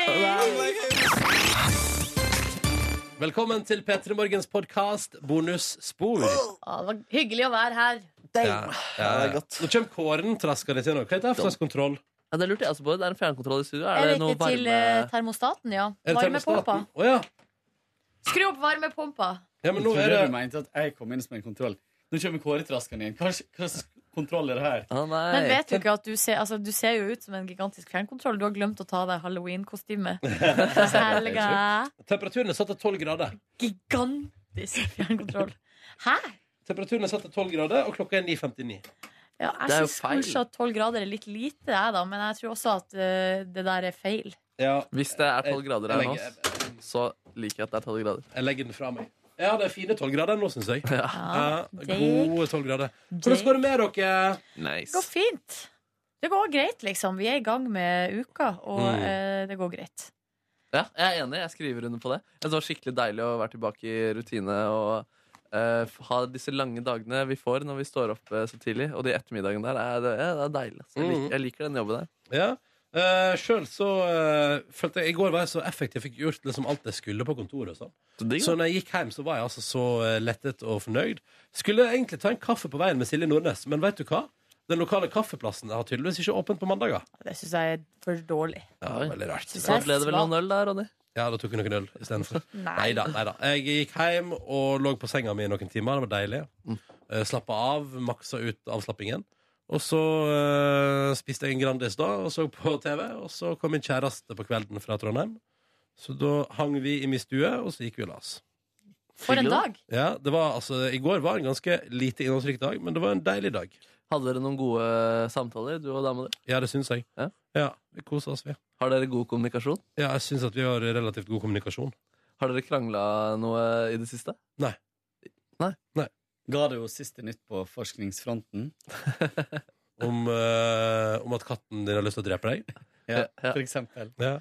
B: Velkommen til P3 Morgens podkast Bonusspor.
C: Å, det var hyggelig å være her.
B: Ja, ja,
D: det er
B: ja.
D: godt.
B: Nå kommer Kåren traskende til nå. Hva heter det for slags kontroll?
D: Ja, det lurte jeg også på. Det er en fjernkontroll i studio.
C: Jeg
D: Er det noe
C: vet ikke til
D: varme
C: eh, termostaten, ja.
B: Er det
C: Varmepumpa.
B: termostaten? Å ja.
C: Skru opp varmepumpa.
B: ja, men nå er det
I: mente at jeg kom inn som en kontroll. Nå kommer Kåre traskende inn. Hva slags kontroll er det her?
D: Å, nei.
C: Men vet du ikke at du ser, altså, du ser jo ut som en gigantisk fjernkontroll. Du har glemt å ta av deg halloween-kostyme. Selga.
B: Temperaturen er satt til 12 grader.
C: sånn Gigantisk fjernkontroll. Hæ?
B: Temperaturen er satt til 12 grader, og klokka er 9.59.
C: Ja,
D: Det er jo
C: jeg syns kanskje
D: feil.
C: at tolv grader er litt lite, jeg, da. Men jeg tror også at eh, det der er feil.
B: Ja,
D: Hvis det er tolv grader her
B: jeg,
D: nå,
B: legger,
D: så liker jeg at det er tolv grader.
B: jeg legger den fra meg. Ja, det er fine 12 grader nå, syns jeg.
D: Ja.
B: Ja,
C: det-
B: gode 12 grader.
C: det-
B: Hvordan går det med dere?
C: Det går
D: Nice.
C: fint. Det går greit, liksom. Vi er i gang med uka, og
B: Mm.
C: eh, det går greit.
D: Ja, jeg er enig. Jeg skriver under på det. Jeg synes Det var skikkelig deilig å være tilbake i rutine og eh, f- ha disse lange dagene vi får når vi står opp eh, så tidlig. Og de ettermiddagene der, er, det, ja, det er deilig. Altså. Jeg,
B: Mhm.
D: liker, jeg liker den jobben der.
B: Ja. Uh, Sjøl så eh, følte jeg I går var jeg så effektiv, fikk gjort liksom alt jeg skulle på kontoret. og sånn Så, når jeg gikk hjem, så var jeg altså så eh, lettet og fornøyd. Skulle egentlig ta en kaffe på veien med Silje Nordnes, men vet du hva? Den lokale kaffeplassen har tydeligvis ikke åpent på mandager.
C: Det syns jeg er for dårlig.
B: Ja, veldig rart.
C: Synes jeg er
D: Ble det vel
C: svakt.
D: noen øl der, Ronny?
B: Ja, da tok jeg noen øl istedenfor.
C: Nei.
B: nei da, nei da. Jeg gikk hjem og lå på senga mi i noen timer. Det var deilig. Eh, Slappa av, maksa ut avslappingen. Og så eh, spiste jeg en Grandis da, og så på TV. Og så kom min kjæreste på kvelden fra Trondheim. Så da hang vi i min stue, og så gikk vi og la oss.
C: For en dag!
B: Ja, det var, altså, I går var en ganske lite innholdsrik dag, men det var en deilig dag.
D: Hadde dere noen gode eh, samtaler, du og dama di?
B: Ja, det syns jeg.
D: Ja?
B: vi kosa oss, vi.
D: Har dere god kommunikasjon?
B: Ja, jeg syns at vi har relativt god kommunikasjon.
D: Har dere krangla noe i det siste?
B: Nei.
I: Ga det jo siste nytt på forskningsfronten.
B: om, eh, om at katten din har lyst til å drepe deg.
I: Ja, for eksempel.
B: Ja.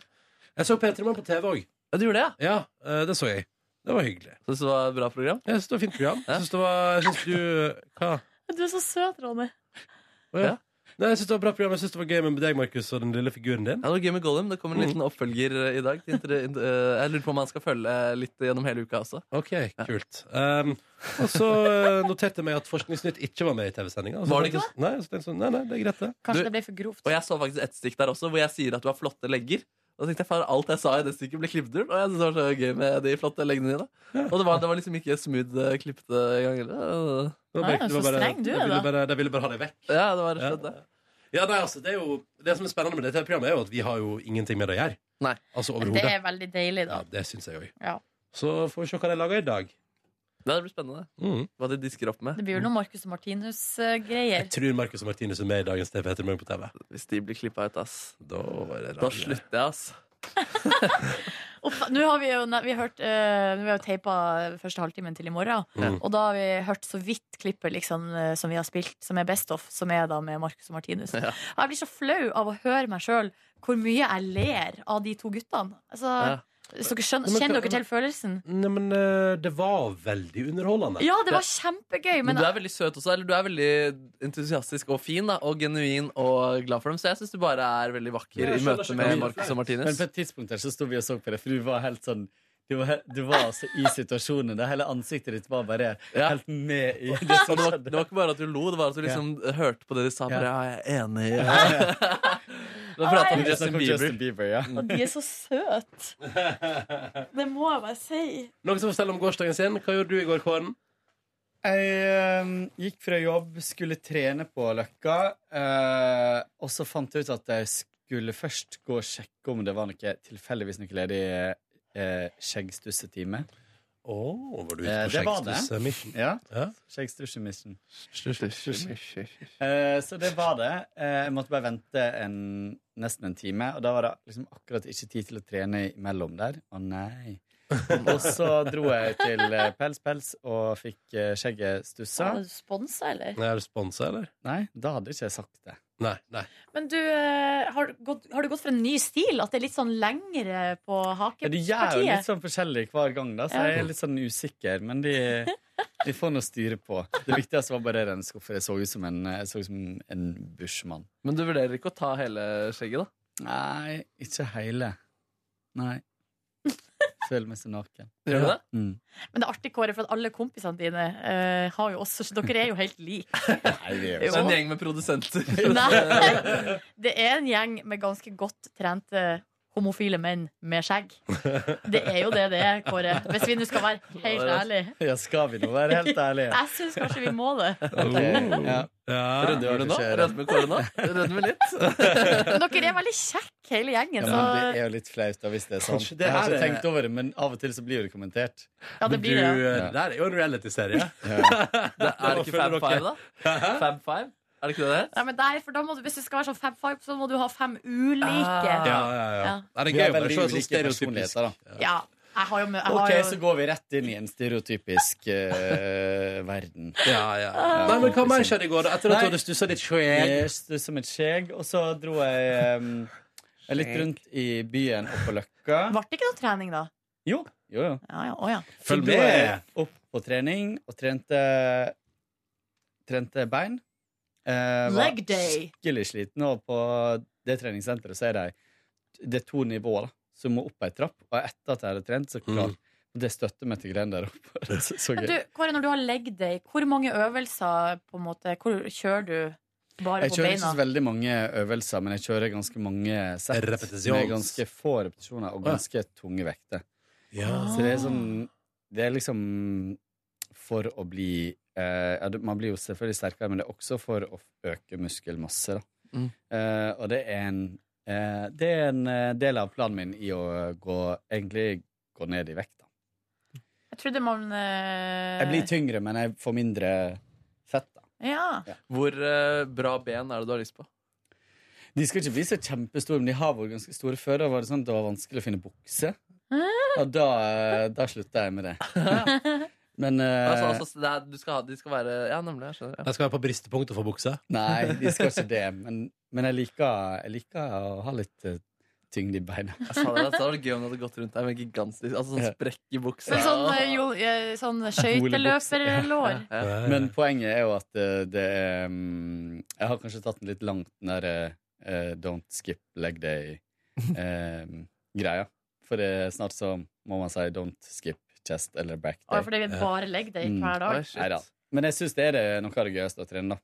B: Jeg så P3 Morgen på TV òg.
D: Ja, du gjorde det?
B: Ja, eh, det så jeg. Det var hyggelig.
D: Syns det var et bra program?
B: Jeg syns det var et fint program. Jeg syns det var jeg synes du Hva?
C: Du er så søt, Ronny.
B: Å, ja. Nei, jeg syns det var et bra program. Jeg syns det var gøy med deg, Markus, og den lille figuren din.
D: Ja, det var gøy med Gollum. Det kommer en
B: Mm.
D: liten oppfølger eh, i dag. til inter- in- eh, Jeg lurer på om han skal følge eh, litt gjennom hele uka også.
B: Ok, kult. Um, og så eh, noterte jeg meg at Forskningsnytt ikke var med i TV-sendinga.
D: Var det ikke
B: Nei, så tenkte jeg sånn, nei, nei, det er greit, det.
C: Kanskje
D: Du-
C: det ble for grovt.
D: Og jeg så faktisk et stikk der også, hvor jeg sier at du har flotte legger. Og da tenkte jeg, faen, Alt jeg sa i det stykket, ble klippet ut. Og jeg synes det var så gøy med de flotte leggene dine. Og det var, det var liksom ikke smooth eh, klippet eh, gang heller.
B: Det var bare- det var bare- de ville bare- De ville bare ha deg vekk.
D: Ja, det var rett og slett det.
B: Ja, nei, altså, det, er jo, det som er spennende med dette programmet, er jo at vi har jo ingenting med det å gjøre.
D: Nei.
B: Altså
C: Det
B: overhodet.
C: er veldig deilig, da.
B: Ja, det syns jeg òg.
C: Ja.
B: Så får vi se hva de lager i dag. Mm.
D: Det blir spennende. Hva de disker opp med.
C: Det blir jo noe Marcus og Martinus-greier.
B: Jeg tror Markus og Martinus er med i dagens TV Etter Morgen på TV.
D: Hvis de blir klippa ut, ass.
B: Da, er det
D: Da slutter jeg, ass.
C: Og fa- Nå har vi jo vi har hørt eh, Vi har jo teipa første halvtimen til i morgen.
B: Mm.
C: Og da har vi hørt så vidt klippet liksom, eh, som vi har spilt, som er Best of, som er da med Marcus og Martinus.
D: Ja.
C: Og Jeg blir så flau av å høre meg sjøl hvor mye jeg ler av de to guttene. Altså,
D: Ja.
C: hvis dere skjønner,
B: Men kan-
C: kjenner dere til følelsen?
B: Nei, men eh, det var veldig underholdende.
C: Ja, det var kjempegøy,
D: Men
C: men
D: du er veldig søt også. Eller du er veldig entusiastisk og fin da, og genuin og glad for dem. Så jeg syns du bare er veldig vakker
B: Ja, jeg
D: i
B: skjønner
D: møte
B: ikke
D: med
B: hva du
D: Marcus og
I: Men
D: Martinus.
I: på et tidspunkt der så sto vi og så på det, for du var helt sånn du var, he- du var altså i situasjonen. Det hele ansiktet ditt var bare helt med i
D: Og
I: det som
D: det, var,
I: skjedde.
D: det var ikke bare at du lo, det var at du
I: Ja.
D: liksom hørte på det de sa. Bare, ja, jeg er enig. Da
C: Nei.
D: prater vi om
I: Vi
D: Justin
I: snakker om
D: Bieber.
I: Justin Bieber, ja.
C: og de er så søte. Det må jeg bare si.
B: Noen som forteller om gårsdagen sin? Hva gjorde du i går, Kåren?
I: Jeg eh, gikk fra jobb, skulle trene på Løkka, eh, og så fant jeg ut at jeg skulle først gå og sjekke om det var noe tilfeldigvis noe ledig eh, skjeggstussetime.
B: Å, var du ute
I: Eh,
B: på
I: det var det.
B: skjeggstusse-mission?
I: Ja.
B: Ja.
I: Skjeggstusse-mission.
D: Justin
I: Eh, så det var det. Eh, jeg måtte bare vente en, nesten en time, og da var det liksom akkurat ikke tid til å trene imellom der. Å nei. og så dro jeg til eh, Pels Pels og fikk eh, skjegget stussa.
C: Var du sponsa, eller?
B: Er du sponsa, eller?
I: Nei, da hadde ikke jeg sagt det.
B: Nei. nei.
C: Men du, eh, har, du gått, har du gått for en ny stil? At det er litt sånn lengre på
I: Ja, de gjør jo litt
C: hakepartiet?
I: sånn forskjellig hver gang, da, så
C: Ja.
I: jeg er litt sånn usikker. Men de, de får noe styre på. Det viktigste var bare den skuffa. Jeg så ut som en, jeg så ut som en bushmann.
D: Men du vurderer ikke å ta hele skjegget, da?
I: Nei, ikke hele. Nei. Føler meg så naken.
D: Gjør du det?
I: Mm.
C: Men det er artig, Kåre, for at alle kompisene dine eh, har jo også Dere er jo helt like.
I: Nei, det gjør jeg
D: Det er en
I: ikke.
D: gjeng med produsenter.
C: Nei. Det er en gjeng med ganske godt trente homofile menn med skjegg. Det er jo det det er, Kåre. Hvis vi nå skal være helt ærlige.
I: Ja, skal vi nå være helt ærlige?
C: Jeg syns kanskje vi må
I: Oh.
C: det.
I: Ok, ja.
B: Ja.
I: Rødmer
D: Rødmer du
I: det
D: nå?
I: skjer.
D: Rødmer Kåre nå? Rødmer litt?
C: Men dere er veldig kjekke, hele
I: Ja,
C: gjengen.
I: men det
C: Så
I: er jo litt flaut da, hvis det er sant.
B: Kanskje det
I: Jeg har
B: her
I: ikke
B: er-
I: tenkt over det, men av og til så blir jo det kommentert.
C: ja, det
B: Men
C: blir det.
B: Du, eh, det der er jo en reality-serie.
D: Det er det ikke Fab Five, da? Fab Five? Er det ikke det det
C: Nei, men der, for da må du, hvis det skal være sånn fab five, så må du ha fem ulike.
D: Ah.
B: Ja, ja, ja.
C: Ja.
B: Nei, det er
I: Vi
B: gøy
I: har
B: å bare
I: veldig
B: se sånn
I: ulike
B: stereotypisk. Ah,
I: personligheter, da.
C: Ja. Jeg har jo, jeg har
I: Ok,
C: jo
I: så går vi rett inn i en stereotypisk eh, verden.
B: Ja, ja. Nei, men hva mer skjedde i går? da? Etter at
I: Nei.
B: du hadde stussa ditt skjegg?
I: Jeg stusset som et skjegg, og så dro jeg um, Jeg er litt rundt i byen og på Løkka.
L: Ble det ikke noe trening da?
I: Jo, jo, jo.
L: å ja.
I: Følg med! Jeg opp på trening og trente, trente bein. Eh, var
L: Leg day.
I: Skikkelig sliten, og på det treningssenteret så er det, det er to nivåer. da. Så du må opp ei trapp, og etter at jeg hadde trent, så klart. Det støtter meg til greiene der oppe. Det er så- så
C: Men
I: gøy.
C: du, Kåre, når du har leg day, hvor mange øvelser på en måte, hvor kjører du bare
I: Jeg
C: på
I: kjører ikke
C: beina?
I: så veldig mange øvelser, men jeg kjører ganske mange sett
B: Repetisjons.
I: med ganske få repetisjoner og ganske tunge vekter.
C: Ah.
B: Ja.
I: Så det er sånn Det er liksom for å bli eh, ja, du- Man blir jo selvfølgelig sterkere, men det er også for å øke muskelmasse. Da.
D: Mm.
I: Eh, og det er en eh, Det er en eh, del av planen min i å gå egentlig gå ned i vekt. Da.
C: Jeg trodde man eh,
I: Jeg blir tyngre, men jeg får mindre fett. Da.
C: Ja.
D: Hvor eh, bra ben er det du har lyst på?
I: De skal ikke bli så kjempestore, men de har vært ganske store før. Da var det sånn at det var vanskelig å finne bukse. Og da, eh, da slutta jeg med det. Men eh,
D: Altså, altså, det er, du skal ha, de skal være Ja, nemlig. Jeg skjønner.
B: Jeg skal være på bristepunktet for bukse.
I: Nei, de skal ikke det. Men, men jeg, liker, jeg liker å ha litt eh, tyngde i beina.
D: Jeg sa det, det hadde vært gøy om du hadde gått rundt der med en gigantisk altså, sånn sprekk i buksa.
C: Men sånn, eh, jo, eh, sånn skøyteløperlår.
I: Men poenget er jo at eh, det er mm, Jeg har kanskje tatt den litt langt, den der eh, don't skip leg day-greia. For det, er snart så må man si don't skip chest eller back
C: Å,
I: day.
C: for det er bare leg day
I: Mm.
C: hver dag. Oi, shit.
I: Neida. Men jeg syns det er det, noe av det gøyeste å trene, da.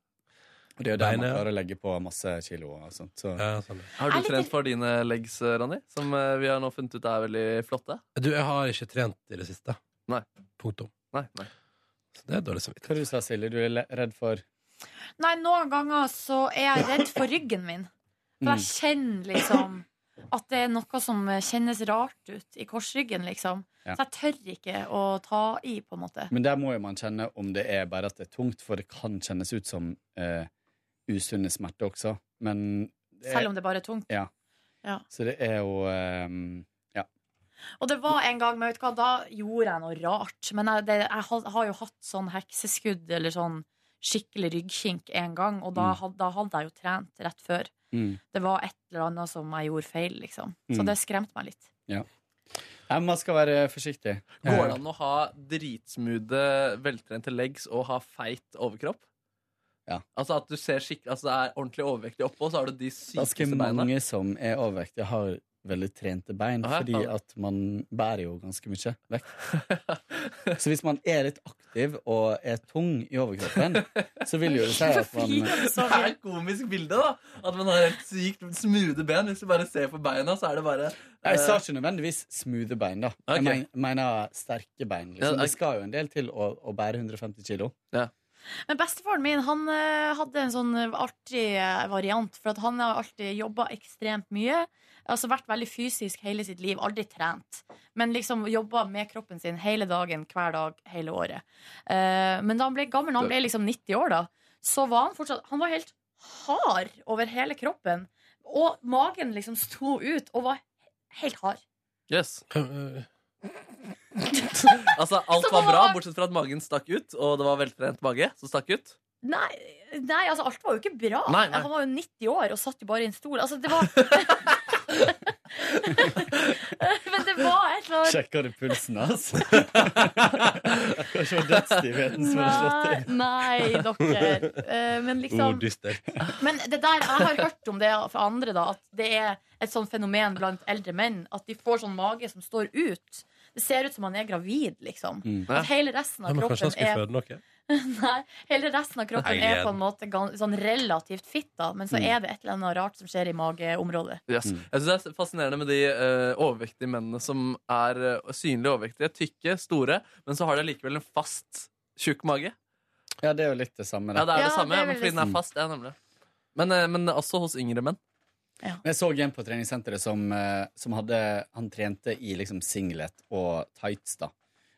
I: Og det er jo der man
D: Beinet.
I: klarer å legge på masse kilo og sånt. Så.
B: sånn.
D: Har du trent for dine legs, Randi? Som eh, vi har nå funnet ut er veldig flotte?
B: Du, jeg har ikke trent i det siste.
D: Nei.
B: Punktum.
D: Nei, nei.
B: Så det er dårlig samvittighet.
I: Hva du sa Silje? Du er le- redd for
C: Nei, noen ganger så er jeg redd for ryggen min.
I: Mm.
C: For jeg kjenner liksom at det er noe som eh, kjennes rart ut i korsryggen, liksom.
I: Ja.
C: Så jeg tør ikke å ta i, på en måte.
I: Men der må jo man kjenne om det er bare at det er tungt, for det kan kjennes ut som eh, usunne smerter også. Men det er-
C: Selv om det bare er tungt.
I: Ja.
C: Ja.
I: Så det er jo ehm, Ja.
C: Og det var en gang, men vet du hva, da gjorde jeg noe rart. Men jeg, det, jeg ha- har jo hatt sånn hekseskudd, eller sånn skikkelig ryggkink en gang, og da,
L: Mm.
C: had- da hadde jeg jo trent rett før. Det var et eller annet som jeg gjorde feil, liksom. Så
I: Mm.
C: det skremte meg litt.
I: ja. Nei, Man skal være forsiktig.
D: Går det an å ha dritsmoothe, veltrente legs og ha feit overkropp?
I: Ja.
D: Altså at du ser skikkelig Altså det er ordentlig overvektig oppå, og så har du de
I: Ganske
D: sykeste beina.
I: mange som er overvektige, har veldig trente bein,
D: Aha,
I: fordi
D: faen.
I: at man bærer jo ganske mye vekt. Så hvis man er litt aktiv og er tung i overkroppen, så vil jo det si at man
D: Det er et komisk bilde, da! At man har helt sykt smoothe ben. Hvis du bare ser på beina, så er det bare
I: Nei, Jeg sa
D: eh,
I: ikke nødvendigvis smoothe bein, da.
D: Ok.
I: Jeg men, mener sterke bein.
D: Ja,
I: Liksom.
D: ok.
I: Det skal jo en del til å, å bære 150 kilo.
C: Men bestefaren min han eh, hadde en sånn eh, artig eh, variant, for at han har alltid jobba ekstremt mye. Altså vært veldig fysisk hele sitt liv, aldri trent. Men liksom jobba med kroppen sin hele dagen, hver dag, hele året. Eh, men da han ble gammel, han ble liksom 90 år, da, så var han fortsatt Han var helt hard over hele kroppen. Og magen liksom sto ut og var helt hard.
D: Yes. altså, alt var bra, bortsett fra at magen stakk ut, og det var veltrent mage som stakk ut.
C: Nei, nei, altså alt var jo ikke bra. Altså,
D: Nei, nei.
C: Han var jo 90 år og satt jo bare i en stol. Altså, det var Men det var et eller annet
I: Sjekker du pulsen hans? Kanskje det var dødstivheten som hadde slått
C: Nei,
I: til.
C: nei, dere. Eh, Men liksom Men det der, jeg har hørt om det fra andre, da, at det er et sånt fenomen blant eldre menn. At de får sånn mage som står ut. Det ser ut som man er gravid, liksom.
B: Mm.
C: At hele resten
B: Nei,
C: av
B: men kanskje
C: kroppen
B: han skulle
C: er
B: føde noe?
C: Nei, hele resten av kroppen
B: Nei,
C: er på en måte gan- sånn relativt fitt, da, men så
D: Mm.
C: er det et eller annet rart som skjer i mageområdet.
D: Yes. Jeg synes Det er fascinerende med de eh, overvektige mennene som er eh, synlig overvektige. Tykke, store, men så har de likevel en fast, tjukk mage.
I: Ja, det er jo litt det samme.
D: Ja, det er det
I: Ja,
D: samme,
I: det er
D: men
I: veldig
D: fordi den er
I: sant.
D: fast. Ja, nemlig. Men, eh, men også hos yngre menn.
I: Jeg så en på treningssenteret som, eh, som hadde Han trente i liksom singlet og tights, da.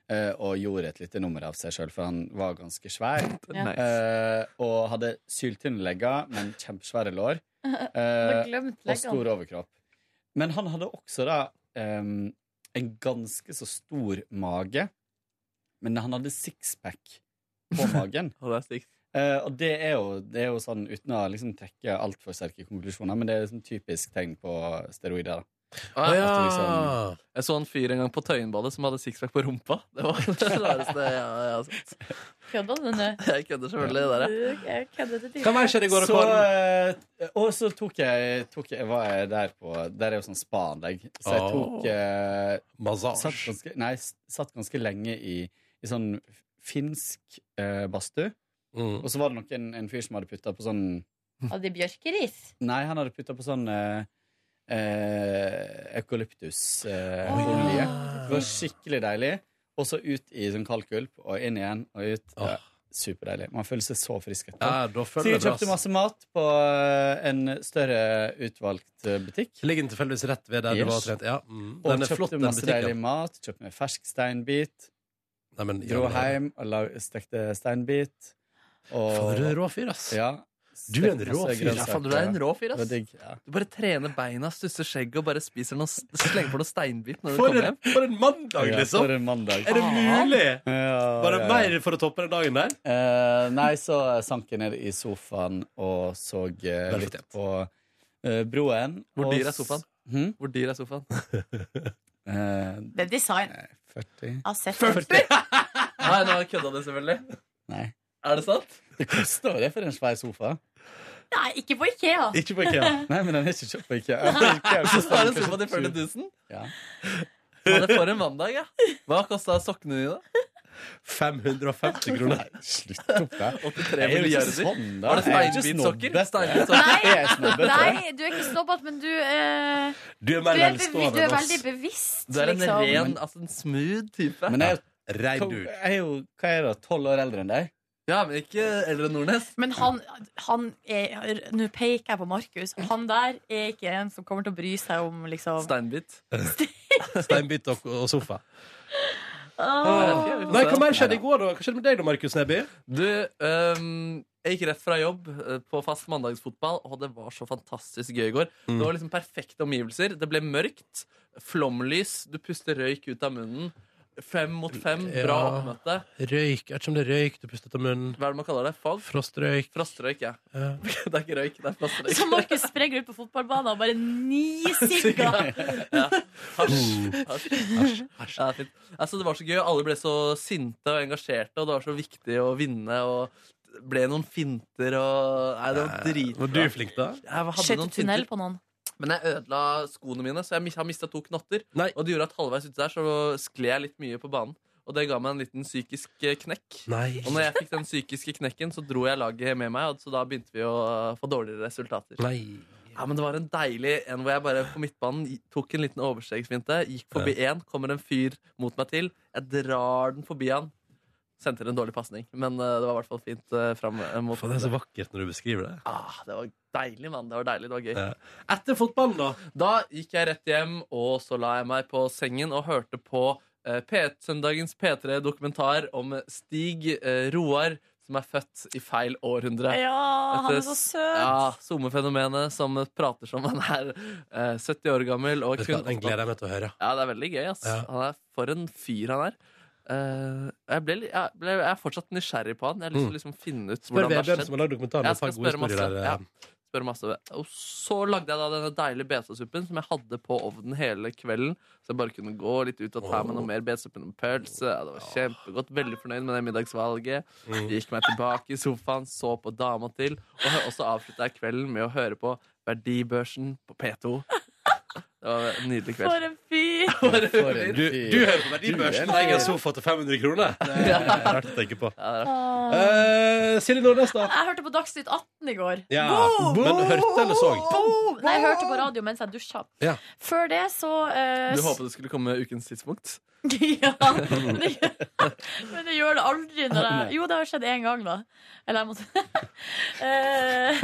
I: eh, Og gjorde et lite nummer av seg sjøl, for han var ganske svær.
D: Ja. Nice.
I: Eh, Og hadde syltynne legger, men kjempesvære lår. eh,
D: Hadde glemt
I: og stor
D: leggene.
I: overkropp. Men han hadde også da em, en ganske så stor mage, men han hadde sixpack på magen.
D: Og det er stygt.
I: Eh, og det er, jo, det er jo sånn, uten å liksom trekke altfor sterke konklusjoner, men det er liksom typisk tegn på steroider. da.
D: Ah,
B: Ah.
I: At du liksom-
D: Jeg så en fyr en gang på Tøyenbadet som hadde sixpack på rumpa. Det var det rareste jeg, jeg har sett.
C: Kødda du nå?
D: Jeg kødder selvfølgelig det der. jeg.
C: Jeg kødder til
D: Hva mer skjedde i går,
I: Så,
D: Karen?
I: eh, og så tok jeg, tok jeg Var jeg der på Der er jo sånn spa-anlegg. Så
D: Ah.
I: jeg
B: Åh.
I: tok eh,
B: Massasje.
I: Satt ganske, nei, s- satt ganske lenge i, i sånn finsk eh, badstue. Og så var det nok en, en fyr som hadde putta på sånn
L: Hadde de bjørkeris?
I: Nei, han hadde putta på sånn eh, eh, eukalyptusolje. Eh,
L: Oi.
I: olje. det var skikkelig deilig. Og så ut i sånn kalkulp, og inn igjen, og ut. Ja, superdeilig. Man føler seg så frisk etterpå.
B: Ja, da føler
I: så jeg
B: jeg det, ass.
I: kjøpte masse mat på eh, en større utvalgt eh, butikk.
B: Ligger den tilfeldigvis rett ved der du var og trent? Ja. Mm.
I: Og
B: Den er
I: kjøpte
B: flott, den
I: masse
B: butikken.
I: deilig mat. Kjøpte meg fersk steinbit. Dro
B: ja, men-
I: hjem og la, stekte steinbit. Og,
B: For en rå fyr, ass.
I: Ja,
B: Du er en
I: stekte
B: rå
I: masse
B: fyr. Ja,
I: grønnsaker.
D: Faen, du er en rå fyr,
I: Det var
D: ass.
I: digg,
D: Du bare trener beina, stusser skjegget og bare spiser noe, slenger på noe steinbit når du
B: For
D: kommer
B: en-
D: hjem.
B: for en mandag,
I: Ja,
B: liksom.
I: for en mandag.
B: Er det mulig?
I: Ja,
B: Var det
I: ja, ja.
B: mer for å toppe den dagen der?
I: Eh, nei, så sank jeg ned i sofaen og så eh,
D: Vel
I: litt på eh, broen.
D: Hvor
I: og
D: dyr er
I: s-
D: sofaen?
I: Hm?
D: Hvor dyr er sofaen?
I: Eh,
C: Det er design.
I: 40.
C: Av sett.
D: Nei, nå kødda du selvfølgelig.
I: Nei.
D: Er det sant?
I: Det koster jo det for en svær sofa.
C: Nei, ikke på Ikea.
I: Nei, men den er ikke kjøpt på IKEA.
D: Så tar en sofa til 40 000?
I: Ja.
D: Faen, det er for en mandag, ja. Hva kosta sokkene dine?
B: 550 kroner.
I: Slutt opp der.
D: 83
I: Jeg er jo ikke
D: milliarder.
I: sånn, da.
D: Var det
I: Jeg er jo ikke
D: steinbitsokker?
I: snobbe.
D: Steinbitsokker?
I: Jeg er snobbete.
C: Nei, du er ikke snobbete, men du, eh,
B: Du er
C: du,
B: mer
C: er bevi-
B: velstående
C: du er
B: enn oss.
C: veldig bevisst.
D: Du er en
C: liksom.
D: ren, altså en smooth type.
I: Men jeg,
B: Rein
I: jeg
B: dude.
I: er jo hva er jeg da, tolv år eldre enn deg.
D: Ja, men ikke eldre enn Nordnes.
L: Men han, han er Nå peker jeg på Markus. Han der er ikke en som kommer til å bry seg om liksom
D: Steinbit.
B: Steinbit og, og sofa.
D: Åh.
B: Nei, hva mer skjedde i går, da? Hva skjedde med deg, da, Markus Neby?
D: Du, øhm, jeg gikk rett fra jobb øh, på fast mandagsfotball, og det var så fantastisk gøy i går.
B: Mm.
D: Det var liksom perfekte omgivelser. Det ble mørkt, flomlys, du puster røyk ut av munnen. Fem mot fem, bra
B: Ja.
D: oppmøte.
B: Røyk. Jeg vet ikke om det er røyk du pustet av munnen.
D: Hva er det man kaller det? Fog?
B: Frostrøyk.
D: Frostrøyk, ja.
B: Ja.
D: Det er ikke røyk, det er frostrøyk.
L: Så Markus sprenger ut på fotballbanen og bare nisigger.
D: ja.
B: Oh.
D: Hasj. Hasj. Hasj. Ja, fint. Altså, det var så gøy, og alle ble så sinte og engasjerte, og det var så viktig å vinne. Og det ble noen finter og Nei, det var dritbra.
B: Var du flink, da?
D: Jeg hadde
L: Skjøt
D: noen
L: du tunnel
D: finter.
L: på noen?
D: Men jeg ødela skoene mine, så jeg mis- har mista to knotter. Og det gjorde at halvveis ute der så skled jeg litt mye på banen. Og det ga meg en liten psykisk eh, knekk.
B: Nei.
D: Og når jeg fikk den psykiske knekken, så dro jeg laget med meg, og så da begynte vi å eh, få dårligere resultater.
B: Nei.
D: Ja, men Det var en deilig en hvor jeg bare på midtbanen gi- tok en liten overstegsfinte. Gikk forbi én, kommer en fyr mot meg til. Jeg drar den forbi han. Sendte en dårlig pasning, men eh, det var i hvert fall fint eh, fram eh, mot
B: Faen, det er så vakkert når du beskriver det.
D: Ah, det var deilig, mann. Det var deilig, det var gøy.
B: Ja. Etter fotballen, da?
D: Da gikk jeg rett hjem, og så la jeg meg på sengen og hørte på eh, P- søndagens P3-dokumentar om Stig eh, Roar, som er født i feil århundre.
L: Ja, han er
D: Dette
L: så
D: s-
L: søt.
D: Ja, SoMe-fenomenet som prater som han er eh, 70 år gammel. Og
B: Vet du hva, den gleder jeg meg til å høre.
D: Ja, det er veldig gøy, ass.
B: Ja.
D: Han er for en fyr han er. Eh, jeg, ble, li- jeg, ble, jeg er fortsatt nysgjerrig på han. Jeg har lyst til å liksom finne ut
B: Mm. Spør
D: hvordan det har
B: Vebjørn
D: skjedd.
B: som har lagd dokumentaren,
D: Jeg
B: et par
D: skal
B: gode
D: spørre masse.
B: historier der,
D: Ja,
B: eh.
D: spørre masse. Og så lagde jeg da denne deilige betasuppen som jeg hadde på ovnen hele kvelden. Så jeg bare kunne gå litt ut og ta med noe mer betasuppe og pølse. Ja, det var kjempegodt. Veldig fornøyd med det middagsvalget. Gikk meg tilbake i sofaen, så på dama til. Og hø- også avslutta jeg kvelden med å høre på Verdibørsen på P2. Det var en nydelig kveld.
L: For en fyr!
B: Du, du hører på verdibørsen og jeg har sofa til 500 kroner. Det er rart å tenke på. Eh, Silje Nordnes, da?
L: Jeg hørte på Dagsnytt 18 i går.
B: Ja.
L: Boom!
B: Men hørte eller så?
L: Boom! Nei, jeg hørte på radio mens jeg dusja.
B: Ja.
L: Før det så eh,
D: Du håpet det skulle komme ukens tidspunkt?
L: ja, men det, men det gjør det aldri når jeg Jo, det har skjedd én gang, da. Eller jeg måtte Eh,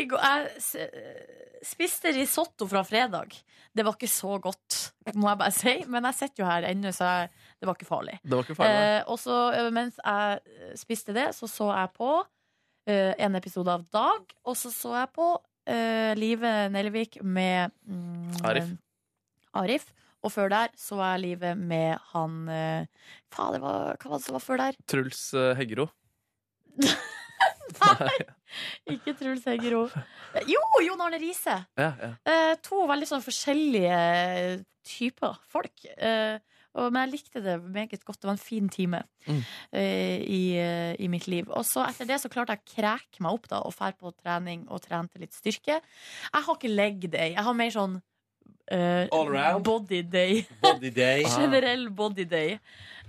L: I går Jeg s- spiste risotto fra fredag. Det var ikke så godt, må jeg bare si. Men jeg sitter jo her ennå, så jeg, det var ikke farlig.
D: Det var ikke farlig, nei.
L: Eh, og så eh, mens jeg eh, spiste det, så så jeg på eh, en episode av Dag, og så så jeg på eh, Live Nelvik med mm,
D: Arif.
L: eh, Arif. Og før der så jeg livet med han eh, Faen, det var, hva var det som var før der?
D: Truls eh, Heggero.
C: Ikke Truls Hegero. Jo, Jon Arne Riise!
D: Ja, ja.
C: Eh, to veldig sånn forskjellige typer folk. Eh, og, men jeg likte det meget godt. Det var en fin time
D: Mm.
C: eh, i, eh, i mitt liv. Og så etter det så klarte jeg å kreke meg opp da, og fær på trening og trente litt styrke. Jeg har ikke leg day. Jeg har mer sånn eh,
B: All around?
C: body day.
B: Body day.
C: Ah. Generell body day.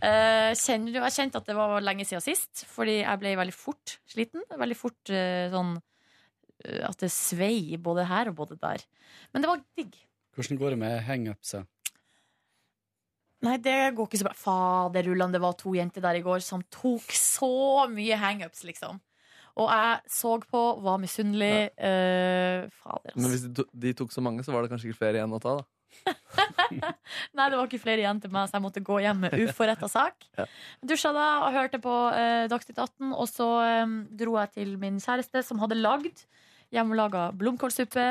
C: Eh, kjenner du, jeg kjente at det var lenge siden sist, fordi jeg ble veldig fort sliten. Veldig fort eh, sånn eh, at det svei både her og både der. Men det var digg.
M: Hvordan går det med hangupsa?
C: Nei, det går ikke så bra. Faderullan, det var to jenter der i går som tok så mye hangups, liksom. Og jeg så på, var misunnelig. eh, fader,
D: Men hvis de, to, de tok så mange, så var det kanskje ikke flere igjen å ta, da.
C: Nei, det var ikke flere igjen til meg, så jeg måtte gå hjem med uforretta sak. Dusja da og hørte på eh, Dagsnytt 18, og så eh, dro jeg til min kjæreste som hadde lagd hjemmelaga blomkålsuppe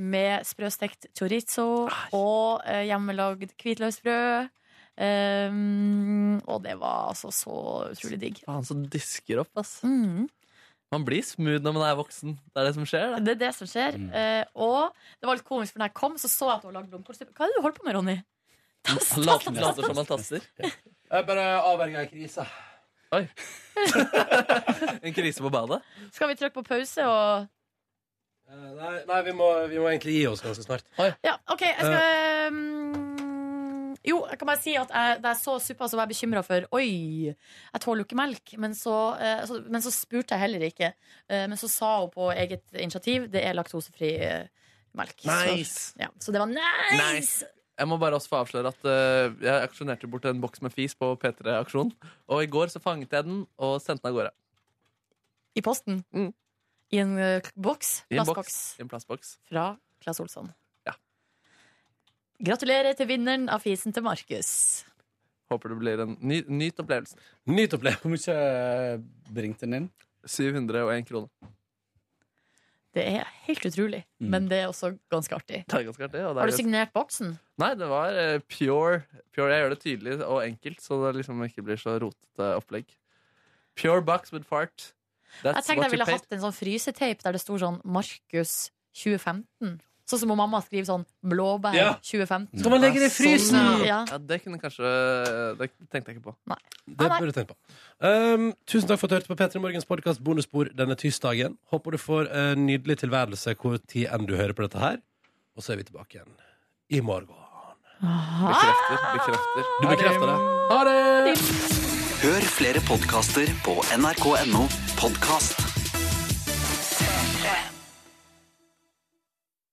C: med sprøstekt chorizo og eh, hjemmelagd hvitløksbrød. Um, og det var altså så utrolig digg.
D: Faen, så disker opp, ass.
C: Mm.
D: Man blir smooth når man er voksen. Det er det som skjer, det.
C: Det er det som skjer. Eh, og det var litt komisk, for da jeg kom, så så jeg at hun hadde lagd blomkålsuppe. Hva er det du holder på med, Ronny?
D: Later, later som man tasser.
B: Jeg bare avverga ei krise.
D: Oi. en krise på badet?
C: Skal vi trykke på pause og
B: Eh, Nei, nei vi, må, vi må egentlig gi oss ganske snart.
C: Ja, ok, jeg skal eh, mm, Jo, jeg kan bare si at jeg, da jeg så suppa, så var jeg bekymra for Oi, jeg tåler jo ikke melk. Men så, eh, så, men så spurte jeg heller ikke. Eh, men så sa hun på eget initiativ det er laktosefri eh, melk.
D: Nice.
C: Så, ja, så det var nice!
D: Jeg må bare også få avsløre at eh, jeg aksjonerte bort en boks med fis på P3-aksjon. Og i går så fanget jeg den og sendte den av gårde.
C: I posten. I en eh, boks.
D: Mm. I en
C: Plastboks.
D: boks. I en plastboks.
C: Fra Claes Olsson. Gratulerer til vinneren av fisen til Markus.
D: Håper det blir en ny, nyt opplevelse.
B: Nyt opplevelse.
M: Hvor mye bringte den inn?
D: 701 kroner.
C: Det er helt utrolig, men det er også ganske artig.
D: Mm. Det er ganske artig. og det er
C: Har du
D: ganske-
C: signert boksen?
D: Nei, det var eh, pure, pure. Jeg gjør det tydelig og enkelt, så det liksom ikke blir så rotete opplegg. Pure box with fart. That's
C: Jeg tenkte
D: what
C: jeg
D: you
C: ville
D: paid.
C: hatt en sånn fryseteip der det sto sånn Markus 2015. Sånn som om mamma skriver sånn blåbær
D: Ja.
C: 2015.
D: Skal man legge
B: det i frysen?
C: Sånn, ja.
D: Ja, det kunne kanskje Det tenkte jeg ikke på.
B: Det bør du tenke på. Um, tusen takk for at du hørte på P3 Morgens podkast Bonusbord denne tirsdagen. Håper du får en nydelig tilværelse hvor tid enn du hører på dette her. Og så er vi tilbake igjen i morgen.
D: Bekrefter. bekrefter.
B: Du bekrefter det?
D: Ha det!
I: Hør flere podkaster på nrk.no podkast.